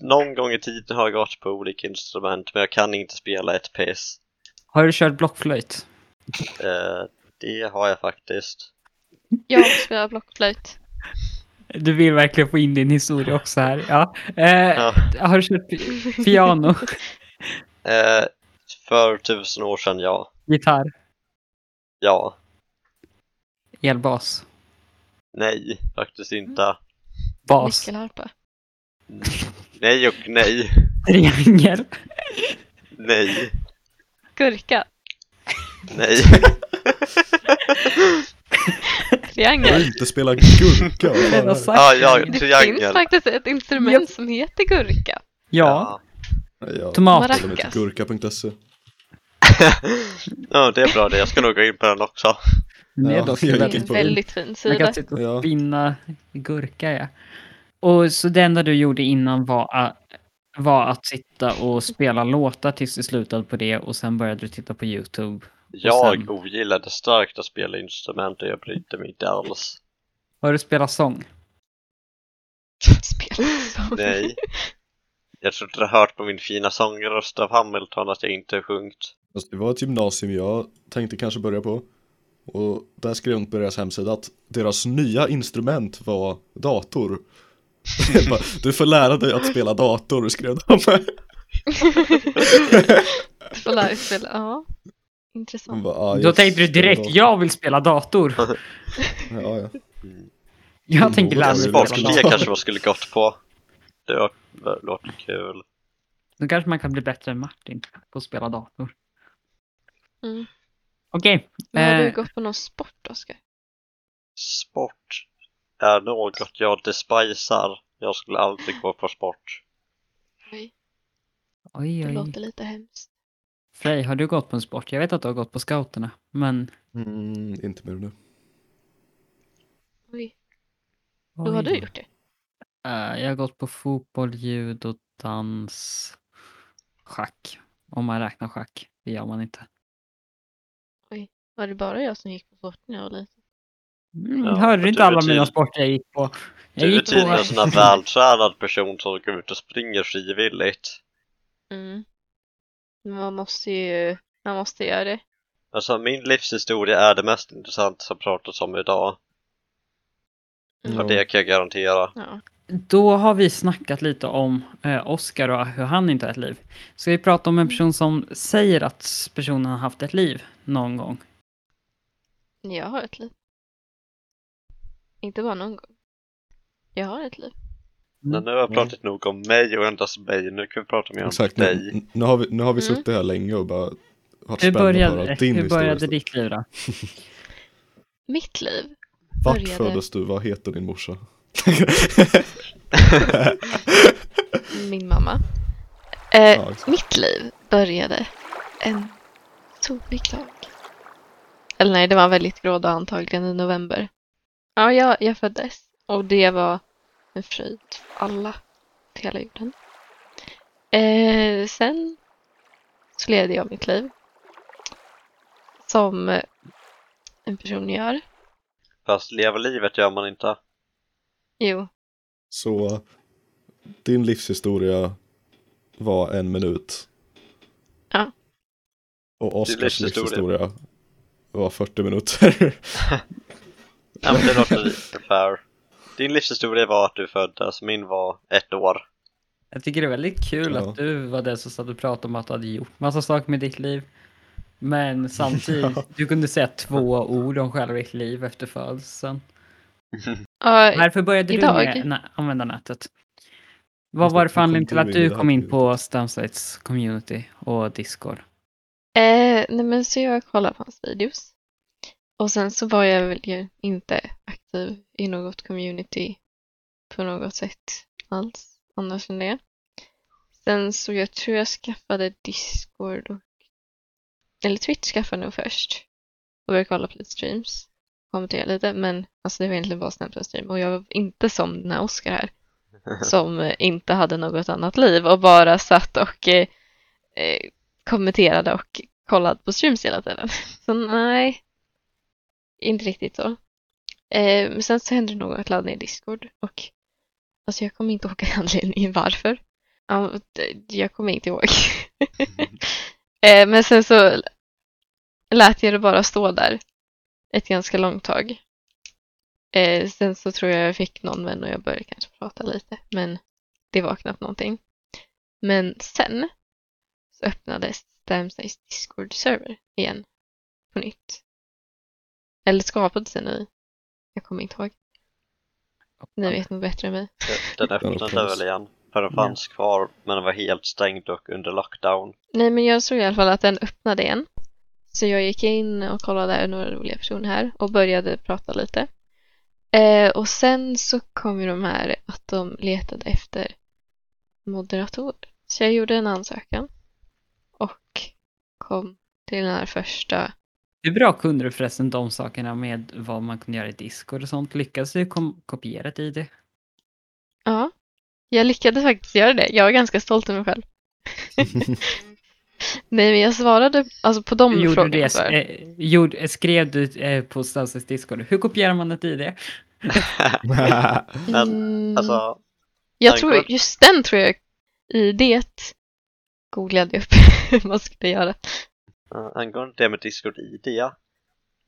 Speaker 4: någon gång i tiden har jag gått på olika instrument men jag kan inte spela ett piss.
Speaker 1: Har du kört blockflöjt?
Speaker 4: Eh, det har jag faktiskt.
Speaker 3: Jag spelar blockflöjt.
Speaker 1: Du vill verkligen få in din historia också här. Ja. Eh,
Speaker 4: Ja.
Speaker 1: Har du kört pi- piano,
Speaker 4: Eh, för tusen år sedan ja.
Speaker 1: gitarr,
Speaker 4: Ja.
Speaker 1: elbas,
Speaker 4: Nej, faktiskt inte.
Speaker 1: bas,
Speaker 3: Nyckelharpa.
Speaker 4: Nej och nej.
Speaker 1: triangel?
Speaker 4: Nej.
Speaker 3: Gurka.
Speaker 4: Nej.
Speaker 2: Jag
Speaker 3: Triangel.
Speaker 2: vill inte spela gurka. vad fan är
Speaker 1: Jag har
Speaker 2: det?
Speaker 1: sagt
Speaker 4: Ja,
Speaker 1: triangel.
Speaker 4: ja,
Speaker 3: Det
Speaker 4: triangel.
Speaker 3: finns faktiskt ett instrument som heter gurka.
Speaker 1: Ja,
Speaker 2: Nej, jag
Speaker 1: tomat.
Speaker 2: håller mig till Gurka.se.
Speaker 4: Ja, det är bra det. Jag ska nog gå in på den också.
Speaker 1: Det är
Speaker 2: Ja,
Speaker 1: dock
Speaker 2: jag
Speaker 3: Det
Speaker 2: gick
Speaker 1: väldigt
Speaker 2: in
Speaker 3: är en
Speaker 2: på
Speaker 3: väldigt fin
Speaker 1: Man
Speaker 3: sida.
Speaker 1: kan sitta
Speaker 2: Ja.
Speaker 1: och spinna gurka, ja. Och så det enda du gjorde innan var, a- var att sitta och spela låtar tills du slutade på det och sen började du titta på YouTube.
Speaker 4: Jag
Speaker 1: sen-
Speaker 4: ogillade starkt att spela instrument och jag brydde mig inte alls.
Speaker 1: Har du spelat sång?
Speaker 3: Spela sång.
Speaker 4: Nej. Jag tror inte du har hört på min fina sångröst av Hamilton att jag inte har sjungit.
Speaker 2: Alltså, det var ett gymnasium jag tänkte kanske börja på. Och där skrev de på deras hemsida att deras nya instrument var dator. Jag bara, du får lära dig att spela dator, skrev de.
Speaker 3: Du får lära dig spela. Ja.
Speaker 2: Hon
Speaker 3: Intressant.
Speaker 2: bara, ah,
Speaker 1: Då
Speaker 2: jag
Speaker 1: tänkte du
Speaker 2: spelar
Speaker 1: direkt,
Speaker 2: dator.
Speaker 1: jag vill spela dator.
Speaker 2: Ja, ja. Mm,
Speaker 1: Jag tänker
Speaker 2: jo,
Speaker 1: lära
Speaker 2: det
Speaker 1: mig
Speaker 2: är
Speaker 1: spela
Speaker 2: väl
Speaker 4: Sportgrejer
Speaker 1: dator.
Speaker 2: klart.
Speaker 4: kanske man skulle gått på. Det var- det låter kul.
Speaker 1: Då kanske man kan bli bättre än Martin på att spela dator.
Speaker 3: Mm.
Speaker 1: Okej,
Speaker 3: Men har du
Speaker 1: eh,
Speaker 3: gått på någon sport, Oskar?
Speaker 4: Sport är något jag despisar. Jag skulle aldrig gå på sport.
Speaker 3: Nej,
Speaker 1: oj
Speaker 3: det
Speaker 1: oj.
Speaker 3: låter lite hemskt.
Speaker 1: Frej, har du gått på en sport? Jag vet att du har gått på scouterna, men...
Speaker 2: Mm, inte mer nu.
Speaker 3: Oj, då har du gjort det.
Speaker 1: Eh, jag har gått på fotboll, judo, dans, schack. Om man räknar schack, det gör man inte.
Speaker 3: Var det bara jag som gick på sport när jag var liten?
Speaker 1: Mm,
Speaker 4: Ja,
Speaker 1: hörde
Speaker 4: för
Speaker 1: du inte
Speaker 4: du är
Speaker 1: alla mina
Speaker 4: tydlig-
Speaker 1: sporter jag gick på? Jag
Speaker 4: Du är
Speaker 1: gick
Speaker 4: tydligen
Speaker 1: på...
Speaker 4: en sån här vältränad person som går ut och springer frivilligt.
Speaker 3: Mm. Men man måste ju, man måste göra det.
Speaker 4: Alltså min livshistoria är det mest intressanta som pratats om idag.
Speaker 2: Mm.
Speaker 4: Och det kan jag garantera.
Speaker 3: Ja.
Speaker 1: Då har vi snackat lite om eh, Oscar och hur han inte har ett liv. Ska vi prata om en person som säger att personen har haft ett liv någon gång?
Speaker 3: Jag har ett liv. Inte bara någon gång. Jag har ett liv.
Speaker 4: Men nu har jag pratat nog om mig och endast mig. Nu kan vi prata mer om
Speaker 2: Exakt,
Speaker 4: dig.
Speaker 2: nu, nu har vi, nu har vi
Speaker 3: Mm.
Speaker 2: suttit här länge och bara varit
Speaker 1: Hur
Speaker 2: spända på att höra
Speaker 1: började,
Speaker 2: din
Speaker 1: hur började
Speaker 2: historia.
Speaker 1: ditt liv då?
Speaker 3: Mitt liv?
Speaker 2: Vart
Speaker 3: började?
Speaker 2: föddes du? Vad heter din morsa?
Speaker 1: Eh,
Speaker 3: Min mamma. Eh,
Speaker 2: Ja, exakt.
Speaker 3: Mitt liv började en solig dag. Eller nej, det var en väldigt grå dag antagligen i november. Ja, jag, jag föddes och det var en fröjd för alla på hela jorden. Eh, sen så levde jag mitt liv som eh, en person gör.
Speaker 4: Fast leva livet gör man inte.
Speaker 3: Jo,
Speaker 2: Så din livshistoria var en minut.
Speaker 3: Ja.
Speaker 2: Och Oskars
Speaker 4: Din livshistoria.
Speaker 2: livshistoria var 40 minuter.
Speaker 4: Nej men det låter lite fair. Din livshistoria var att du föddes, min var ett år.
Speaker 1: Jag tycker det är väldigt kul
Speaker 2: Ja.
Speaker 1: att du var den som satt och pratade om att du hade gjort massa saker med ditt liv. Men samtidigt, du kunde säga två ord om själva ditt liv efter födelsen.
Speaker 3: ja,
Speaker 1: Varför började
Speaker 3: idag?
Speaker 1: du med nä- använda nätet? Vad
Speaker 2: Alltså,
Speaker 1: var det för
Speaker 2: hur kom
Speaker 1: anledning till
Speaker 2: du
Speaker 1: att
Speaker 2: in
Speaker 1: du
Speaker 2: i det här
Speaker 1: kom in
Speaker 2: livet?
Speaker 1: på Stamsites community och Discord?
Speaker 3: Eh, nej men så jag kollade på hans videos. Och sen så var jag väl ju inte aktiv i något community på något sätt alls annars än det. Sen så jag tror jag skaffade Discord och eller Twitch skaffade jag nog först. Och började kolla på lite streams. Kommentera lite men alltså det var egentligen bara Snapchat stream och jag var inte som den här Oscar här. som eh, inte hade något annat liv och bara satt och eh, eh, kommenterade och kollade på streams hela tiden. Så nej, inte riktigt så. Eh, men sen så hände det något, jag laddade ner Discord och alltså jag kommer inte ihåg anledningen varför. Ja, det- Jag kommer inte ihåg. Eh, men sen så lät jag det bara stå där ett ganska långt tag. Eh, sen så tror jag jag fick någon vän och jag började kanske prata lite, men det var knappt någonting. Men sen så öppnades Stamsnays Discord-server igen, på nytt. Eller skapades en ny. Jag kommer inte ihåg. Ni vet nog bättre än mig.
Speaker 4: Den öppnade
Speaker 2: upplevs.
Speaker 4: väl igen. För den fanns kvar, men den var helt stängd och under lockdown.
Speaker 3: Nej, men jag såg i alla fall att den öppnade igen. Så jag gick in och kollade där några roliga personer här och började prata lite. Eh, och sen så kom ju de här att de letade efter moderator. Så jag gjorde en ansökan och kom till den här första.
Speaker 1: Hur bra kunde du förresten de sakerna med vad man kunde göra i Discord och sånt? Lyckades du kom- kopiera ett ID?
Speaker 3: Ja, jag lyckades faktiskt göra det. Jag är ganska stolt över mig själv. Nej, men jag svarade alltså på de
Speaker 1: Gjorde du
Speaker 3: frågorna.
Speaker 1: det,
Speaker 3: så här.
Speaker 1: eh, gjorde, eh, skrev du eh, på Stamsets Discord, hur kopierar man ett ID?
Speaker 4: Men,
Speaker 3: Mm.
Speaker 4: Alltså,
Speaker 3: Jag
Speaker 4: Tack
Speaker 3: tror,
Speaker 4: vare-
Speaker 3: just den tror jag i det googlade jag upp hur man skulle göra.
Speaker 4: eh, angående det med Discord ID.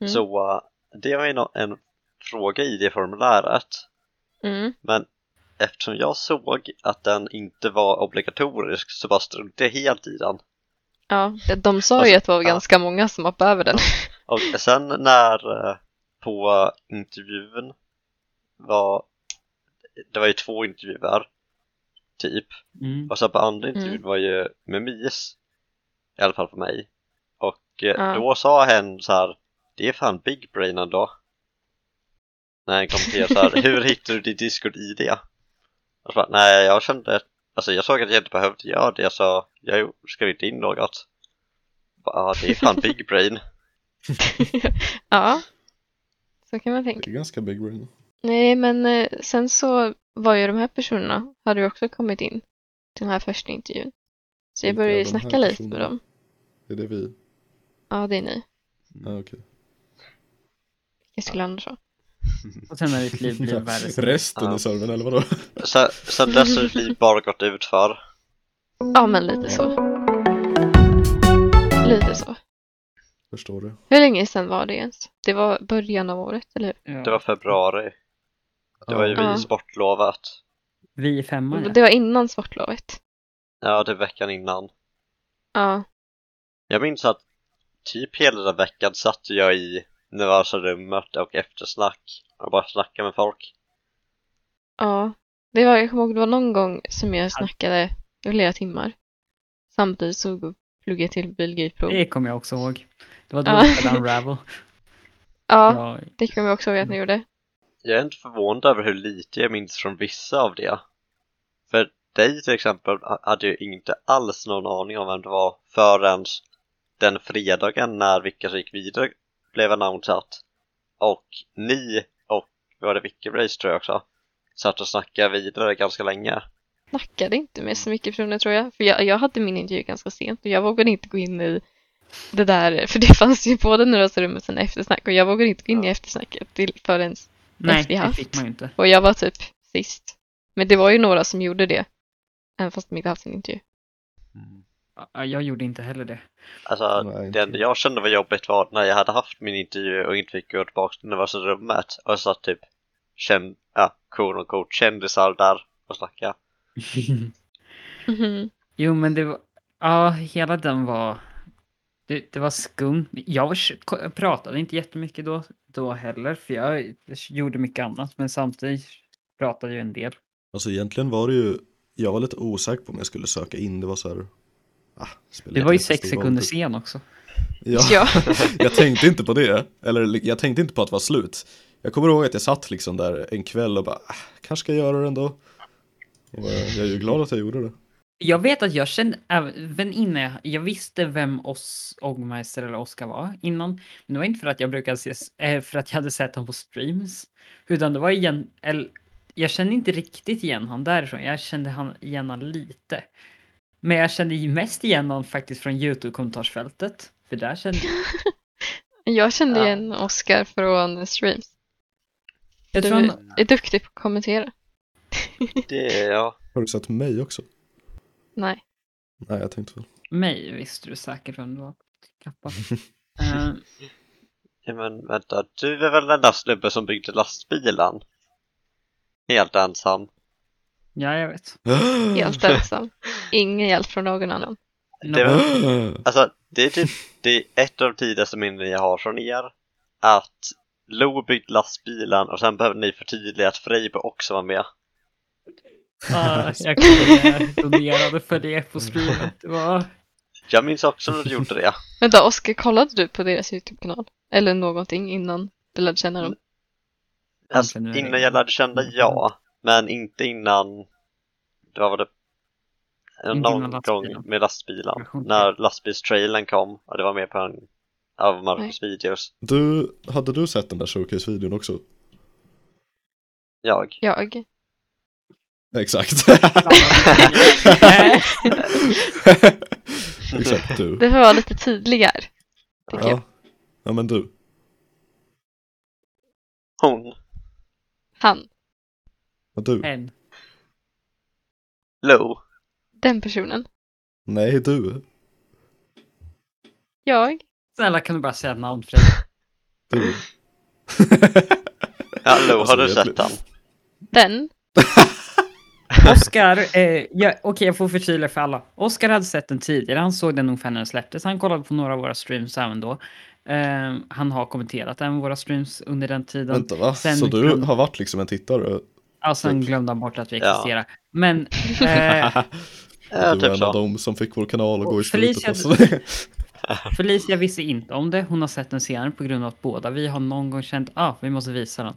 Speaker 3: Mm.
Speaker 4: Så eh, det var ju nå- en fråga i det formuläret.
Speaker 3: Mm.
Speaker 4: Men eftersom jag såg att den inte var obligatorisk så bara struntade jag helt i den.
Speaker 3: Ja, de sa
Speaker 4: Alltså,
Speaker 3: ju att det var
Speaker 4: ja.
Speaker 3: ganska många som hoppade över den.
Speaker 4: Och sen när eh, på intervjun var det var ju två intervjuer typ
Speaker 1: Mm.
Speaker 4: och sen på andra intervjun
Speaker 3: Mm.
Speaker 4: var ju med Mies i alla fall för mig och eh,
Speaker 3: Ja.
Speaker 4: då sa hen så här det är fan big brain ändå när han kommenterade så här hur hittar du ditt discord id? Och så bara, nej jag kände alltså jag såg att jag inte behövde göra det så jag skrev inte in något Bara, ja det är fan big brain
Speaker 3: ja, så kan man
Speaker 2: Det
Speaker 3: tänka.
Speaker 2: är ganska big brain.
Speaker 3: Nej, men eh, sen så var ju de här personerna, hade ju också kommit in till den här första intervjun. Så jag
Speaker 2: Vilka är
Speaker 3: började ju
Speaker 2: de här
Speaker 3: snacka lite med
Speaker 2: personerna?
Speaker 3: dem.
Speaker 2: Det är det vi...
Speaker 3: Ja, det är ni.
Speaker 2: Ah, okej.
Speaker 3: Jag skulle annars ha.
Speaker 1: Och sen när ditt liv blir värre. så-
Speaker 2: Resten
Speaker 4: Ja.
Speaker 2: i servern eller vadå?
Speaker 4: Sen, sen dess har mitt liv bara gått ut för
Speaker 3: Ja, men lite så. Lite så.
Speaker 2: Förstår du?
Speaker 3: Hur länge sedan var det ens? Det var början av året, eller hur?
Speaker 1: Ja.
Speaker 4: Det var februari. Det var ju
Speaker 3: Ja.
Speaker 4: vid sportlovet.
Speaker 1: Vi i femman ja.
Speaker 3: Det var innan sportlovet.
Speaker 4: Ja, det var veckan innan.
Speaker 3: Ja.
Speaker 4: Jag minns att typ hela den veckan satt jag i nervösa rummet och eftersnack och bara snackade med folk.
Speaker 3: Ja. Det var, jag kommer ihåg det var någon gång som jag snackade i flera timmar. Samtidigt så pluggade jag till bilguidprov.
Speaker 1: Det kommer jag också ihåg. Det var då
Speaker 3: Ja.
Speaker 1: vi spelade Unravel.
Speaker 3: Ja,
Speaker 1: Ja.
Speaker 3: det kommer jag också ihåg att ni gjorde.
Speaker 4: Jag är inte förvånad över hur lite jag minns från vissa av det. För dig till exempel ha- hade jag inte alls någon aning om vem det var förrän den fredagen när vilka som gick vidare blev annonsat. Och ni och var det Vicky Brace tror jag också satt och snackade vidare ganska länge.
Speaker 3: Snackade inte med så mycket personer tror jag. För jag, jag hade min intervju ganska sent och jag vågade inte gå in i det där. För det fanns ju både nervösa rummet och sen eftersnack och jag vågade inte gå in i eftersnacket till, förrän
Speaker 1: Nej,
Speaker 3: Efter
Speaker 1: det
Speaker 3: haft.
Speaker 1: fick man ju inte.
Speaker 3: Och jag var typ sist. Men det var ju några som gjorde det. Även fast de inte haft en intervju.
Speaker 1: Ja, Jag gjorde inte heller det.
Speaker 4: Alltså
Speaker 2: Nej,
Speaker 4: det enda jag kände var jobbigt var när jag hade haft min intervju och inte fick gå tillbaka till nervösa rummet och satt typ känd, ja, quote unquote kändisar där och snackade.
Speaker 3: Mhm.
Speaker 1: Jo, men det var... Ja, hela den var... Det, det var skum. Jag var- ko- pratade inte jättemycket då, då heller, för jag gjorde mycket annat, men samtidigt pratade jag en del.
Speaker 2: Alltså egentligen var det ju, jag var lite osäker på om jag skulle söka in, det var så här, ah, spelar
Speaker 1: Det
Speaker 2: inte
Speaker 1: var ju
Speaker 2: så stor
Speaker 1: sex
Speaker 2: roll,
Speaker 1: sekunder
Speaker 2: typ.
Speaker 1: sen också.
Speaker 2: Ja,
Speaker 3: Ja.
Speaker 2: jag tänkte inte på det, eller li- jag tänkte inte på att det var slut. Jag kommer ihåg att jag satt liksom där en kväll och bara, ah, kanske ska jag göra det ändå. Och eh, jag är ju glad att jag gjorde det.
Speaker 1: Jag vet att jag kände, även innan jag, jag visste vem Oss Ogmeister eller Oskar var innan. Men det var inte för att jag brukade ses, eh, för att jag hade sett honom på streams. Utan det var igen, eller, jag kände inte riktigt igen han därifrån. Jag kände han, igen han lite. Men jag kände ju mest igen honom faktiskt från Youtube-kommentarsfältet. För där kände
Speaker 3: Jag kände
Speaker 1: Ja.
Speaker 3: igen Oscar från streams.
Speaker 1: jag...
Speaker 3: du
Speaker 1: Tror han,
Speaker 3: är duktig på att kommentera.
Speaker 4: Det, ja.
Speaker 2: Har du sett mig också?
Speaker 3: Nej.
Speaker 2: Nej, jag tänkte väl.
Speaker 1: mig visste du säkert vem det var. Kappa. Eh,
Speaker 4: Ja, Men vänta, du är väl den där snubben som byggde lastbilen? Helt ensam.
Speaker 1: ja, jag vet.
Speaker 3: Helt
Speaker 2: Mm.
Speaker 3: ensam. Ingen hjälp från någon annan.
Speaker 1: No.
Speaker 4: Det var- Alltså, det är typ det är ett av de tidigaste minnen jag har från er. Att Lo byggde lastbilen och sen behövde ni förtydliga att Freibo också var med.
Speaker 1: Ah, jag kunde- jag donerade för det på streamen. Det var...
Speaker 4: Jag minns också när du gjorde det.
Speaker 3: Vänta, Oscar, kollade du på deras YouTube-kanal? Eller någonting innan du lärde känna dem?
Speaker 4: Alltså,
Speaker 1: Använder du
Speaker 4: innan jag lärde känna ja, men inte innan det var det
Speaker 1: Inte innan
Speaker 4: någon
Speaker 1: lastbilen.
Speaker 4: gång med lastbilen.
Speaker 1: Version tre.
Speaker 4: När lastbilstrailern kom och det var med på en av Marcus videos.
Speaker 2: Du, hade du sett den där showcase-videon också?
Speaker 4: Jag.
Speaker 3: Jag?
Speaker 2: Exakt.
Speaker 1: Nej,
Speaker 2: Exakt du.
Speaker 3: Det får vara lite tydligare. Tycker jag.
Speaker 2: Ja. ja, men du.
Speaker 4: Hon.
Speaker 3: Han.
Speaker 2: Ja, du.
Speaker 1: en.
Speaker 4: Lo.
Speaker 3: Den personen.
Speaker 2: Nej, du.
Speaker 3: Jag?
Speaker 1: Snälla kan du bara säga namn Fred?
Speaker 2: Du.
Speaker 4: Ja, Lo, har
Speaker 2: Alltså,
Speaker 4: du
Speaker 2: jag
Speaker 4: sett
Speaker 2: blir-
Speaker 3: Den?
Speaker 4: den?
Speaker 1: Oskar, eh, ja, okej jag får förtydliga för alla. Oskar hade sett den tidigare, han såg den ungefär när den släpptes. Han kollade på några av våra streams även då. Eh, han har kommenterat även våra streams under den tiden.
Speaker 2: Vänta, va?
Speaker 1: sen
Speaker 2: Så du
Speaker 1: kan-
Speaker 2: har varit liksom en tittare?
Speaker 1: Ja, sen
Speaker 2: typ.
Speaker 1: glömde han bort att vi
Speaker 4: Ja.
Speaker 1: existerar. Men eh,
Speaker 4: Ja,
Speaker 2: du var
Speaker 4: typ
Speaker 2: en av
Speaker 4: så.
Speaker 2: dem som fick vår kanal att
Speaker 1: Och
Speaker 2: gå i slutet.
Speaker 1: Felicia-
Speaker 2: Alltså.
Speaker 1: Felicia visste inte om det. Hon har sett den senare på grund av att båda vi har någon gång känt att ah, vi måste visa den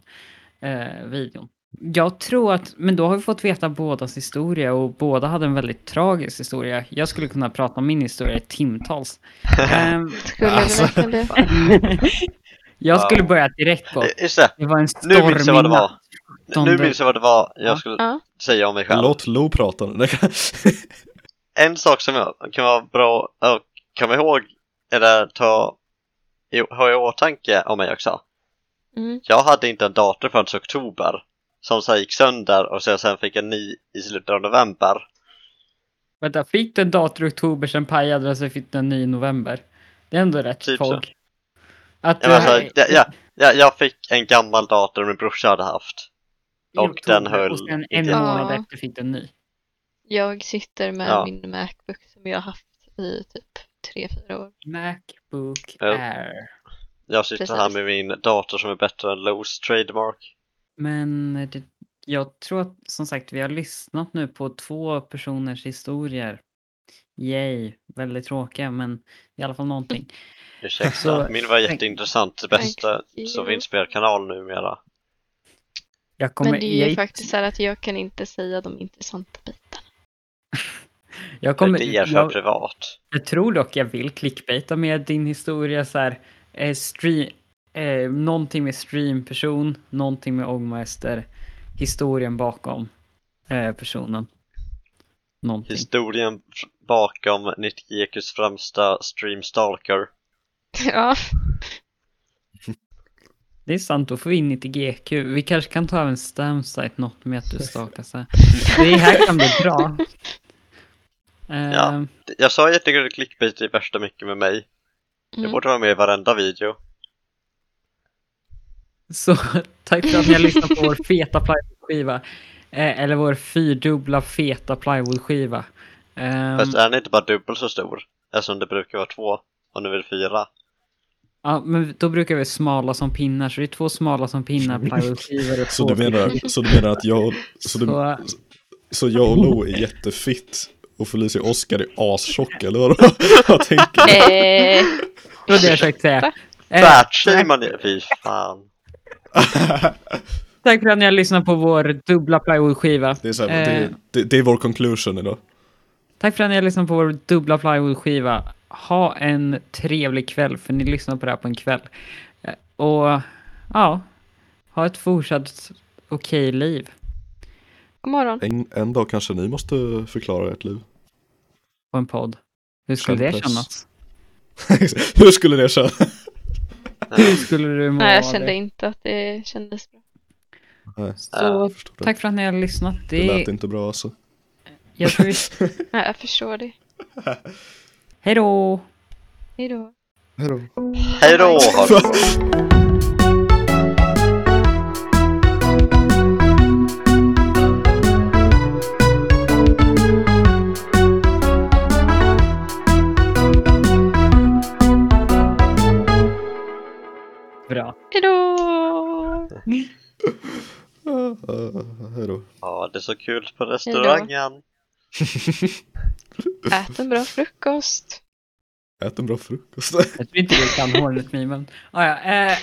Speaker 1: eh, videon. Jag tror att, men då har vi fått veta bådas historia och båda hade en väldigt tragisk historia. Jag skulle kunna prata om min historia i timtals. Ehm,
Speaker 3: Skulle
Speaker 2: Alltså.
Speaker 3: du verkligen det?
Speaker 1: jag skulle
Speaker 4: Wow.
Speaker 1: börja direkt på.
Speaker 4: Just det.
Speaker 1: Det var en
Speaker 4: Nu minns jag
Speaker 1: stormig
Speaker 4: vad det var.
Speaker 1: natt.
Speaker 4: Nu minns jag vad det var
Speaker 1: Ja.
Speaker 4: jag skulle
Speaker 3: Ja.
Speaker 4: säga om mig själv.
Speaker 2: Låt Lo prata nu.
Speaker 4: en sak som jag- kan vara bra att komma ihåg, eller ta i- ha i åtanke om mig också.
Speaker 3: Mm.
Speaker 4: Jag hade inte en dator förrän i oktober, som sen gick sönder och så jag sen fick en ny i slutet av november.
Speaker 1: Vänta, fick du en dator i oktober, sen pajade den, sen fick du en ny i november? Det är ändå rätt
Speaker 4: Typ så.
Speaker 1: fog. Att du-
Speaker 4: Ja, men alltså, jag, jag, jag, jag fick en gammal dator min brorsa hade haft.
Speaker 1: i
Speaker 4: och den höll
Speaker 1: Och sen en
Speaker 4: inte.
Speaker 1: månad
Speaker 3: Ja.
Speaker 1: efter fick du en ny.
Speaker 3: Jag sitter med
Speaker 4: Ja.
Speaker 3: min Macbook som jag har haft i typ tre fyra år.
Speaker 1: Macbook
Speaker 4: Ja.
Speaker 1: Air.
Speaker 4: Jag sitter
Speaker 3: Precis.
Speaker 4: här med min dator som är bättre än Lowe's trademark.
Speaker 1: Men det, jag tror att som sagt vi har lyssnat nu på två personers historier. Yay, väldigt tråkiga men i alla fall någonting.
Speaker 4: Ursäkta,
Speaker 1: Så-
Speaker 4: min var jätteintressant. Det bästa som finns på er kanal numera.
Speaker 1: Jag kommer,
Speaker 3: Men det är ju
Speaker 1: jag,
Speaker 3: faktiskt så här att jag kan inte säga de intressanta bitarna.
Speaker 1: jag,
Speaker 4: Kommer,
Speaker 1: kommer,
Speaker 4: det är för
Speaker 1: jag,
Speaker 4: privat.
Speaker 1: jag tror dock jag vill clickbaita med din historia så här. Eh, stream, eh, någonting med streamperson, någonting med ångmäster, historien bakom eh, personen. Någonting.
Speaker 4: Historien f- bakom 90GQs främsta streamstalker.
Speaker 3: Ja,
Speaker 1: Det är sant, då får vi in lite GQ. Vi kanske kan ta även stamsite något med att du stakar så här. Det här kan bli bra. Eh,
Speaker 4: Ja. Jag sa jättegärna att clickbait är värsta mycket med mig. Det
Speaker 3: Mm.
Speaker 4: borde vara med i varenda video.
Speaker 1: Så tack för att ni har lyssnat på vår feta plywoodskiva. Eh, eller vår fyrdubbla feta plywoodskiva. Ehm,
Speaker 4: Fast är den inte bara dubbelt så stor? Eftersom det brukar vara två och nu är det fyra.
Speaker 1: ja, men då brukar vi smala som pinnar, så det är två smala som pinnar plywoodskivor och
Speaker 2: så,
Speaker 1: två
Speaker 2: du menar, så du menar att jag, så du,
Speaker 1: Så,
Speaker 2: så jag och Lo är jättefitt och Felicia och Oscar är astjocka eller vadå? Vad tänker du?
Speaker 3: Eh,
Speaker 1: det var det jag försökte säga. Eh,
Speaker 4: Fat säger man ju! Fy fan.
Speaker 1: tack för att ni har lyssnat på vår dubbla plywoodskiva.
Speaker 2: Det är, så här,
Speaker 1: Eh.
Speaker 2: det, det, det är vår conclusion idag.
Speaker 1: Tack för att ni har lyssnat på vår dubbla plywoodskiva. Ha en trevlig kväll, för ni lyssnar på det här på en kväll. Eh, Och ja, ha ett fortsatt okej liv.
Speaker 3: God morgon.
Speaker 2: En, en dag kanske ni måste förklara ert liv.
Speaker 1: på en podd. Hur skulle det
Speaker 2: Självpress.
Speaker 1: kännas?
Speaker 2: Hur skulle det kännas?
Speaker 1: Hur skulle du må?
Speaker 3: Nej, jag
Speaker 1: av
Speaker 3: kände
Speaker 1: det?
Speaker 3: inte att det kändes bra.
Speaker 2: Nej,
Speaker 1: Så,
Speaker 2: jag förstår det.
Speaker 1: tack för att ni har lyssnat.
Speaker 2: Det
Speaker 1: Ah, Det
Speaker 2: lät inte bra alltså.
Speaker 1: jag tror vi...
Speaker 3: Nej, jag förstår det.
Speaker 1: Hej då!
Speaker 3: Hej då.
Speaker 2: Hejdå.
Speaker 4: Hej då! ha det bra.
Speaker 1: Bra.
Speaker 3: Hej då.
Speaker 2: Uh, hejdå.
Speaker 4: Ja, det är så kul på restaurangen.
Speaker 3: Ät en bra frukost.
Speaker 2: Ät en bra frukost.
Speaker 1: Jag tror inte vi kan hålet mimen. Ah, ja, eh.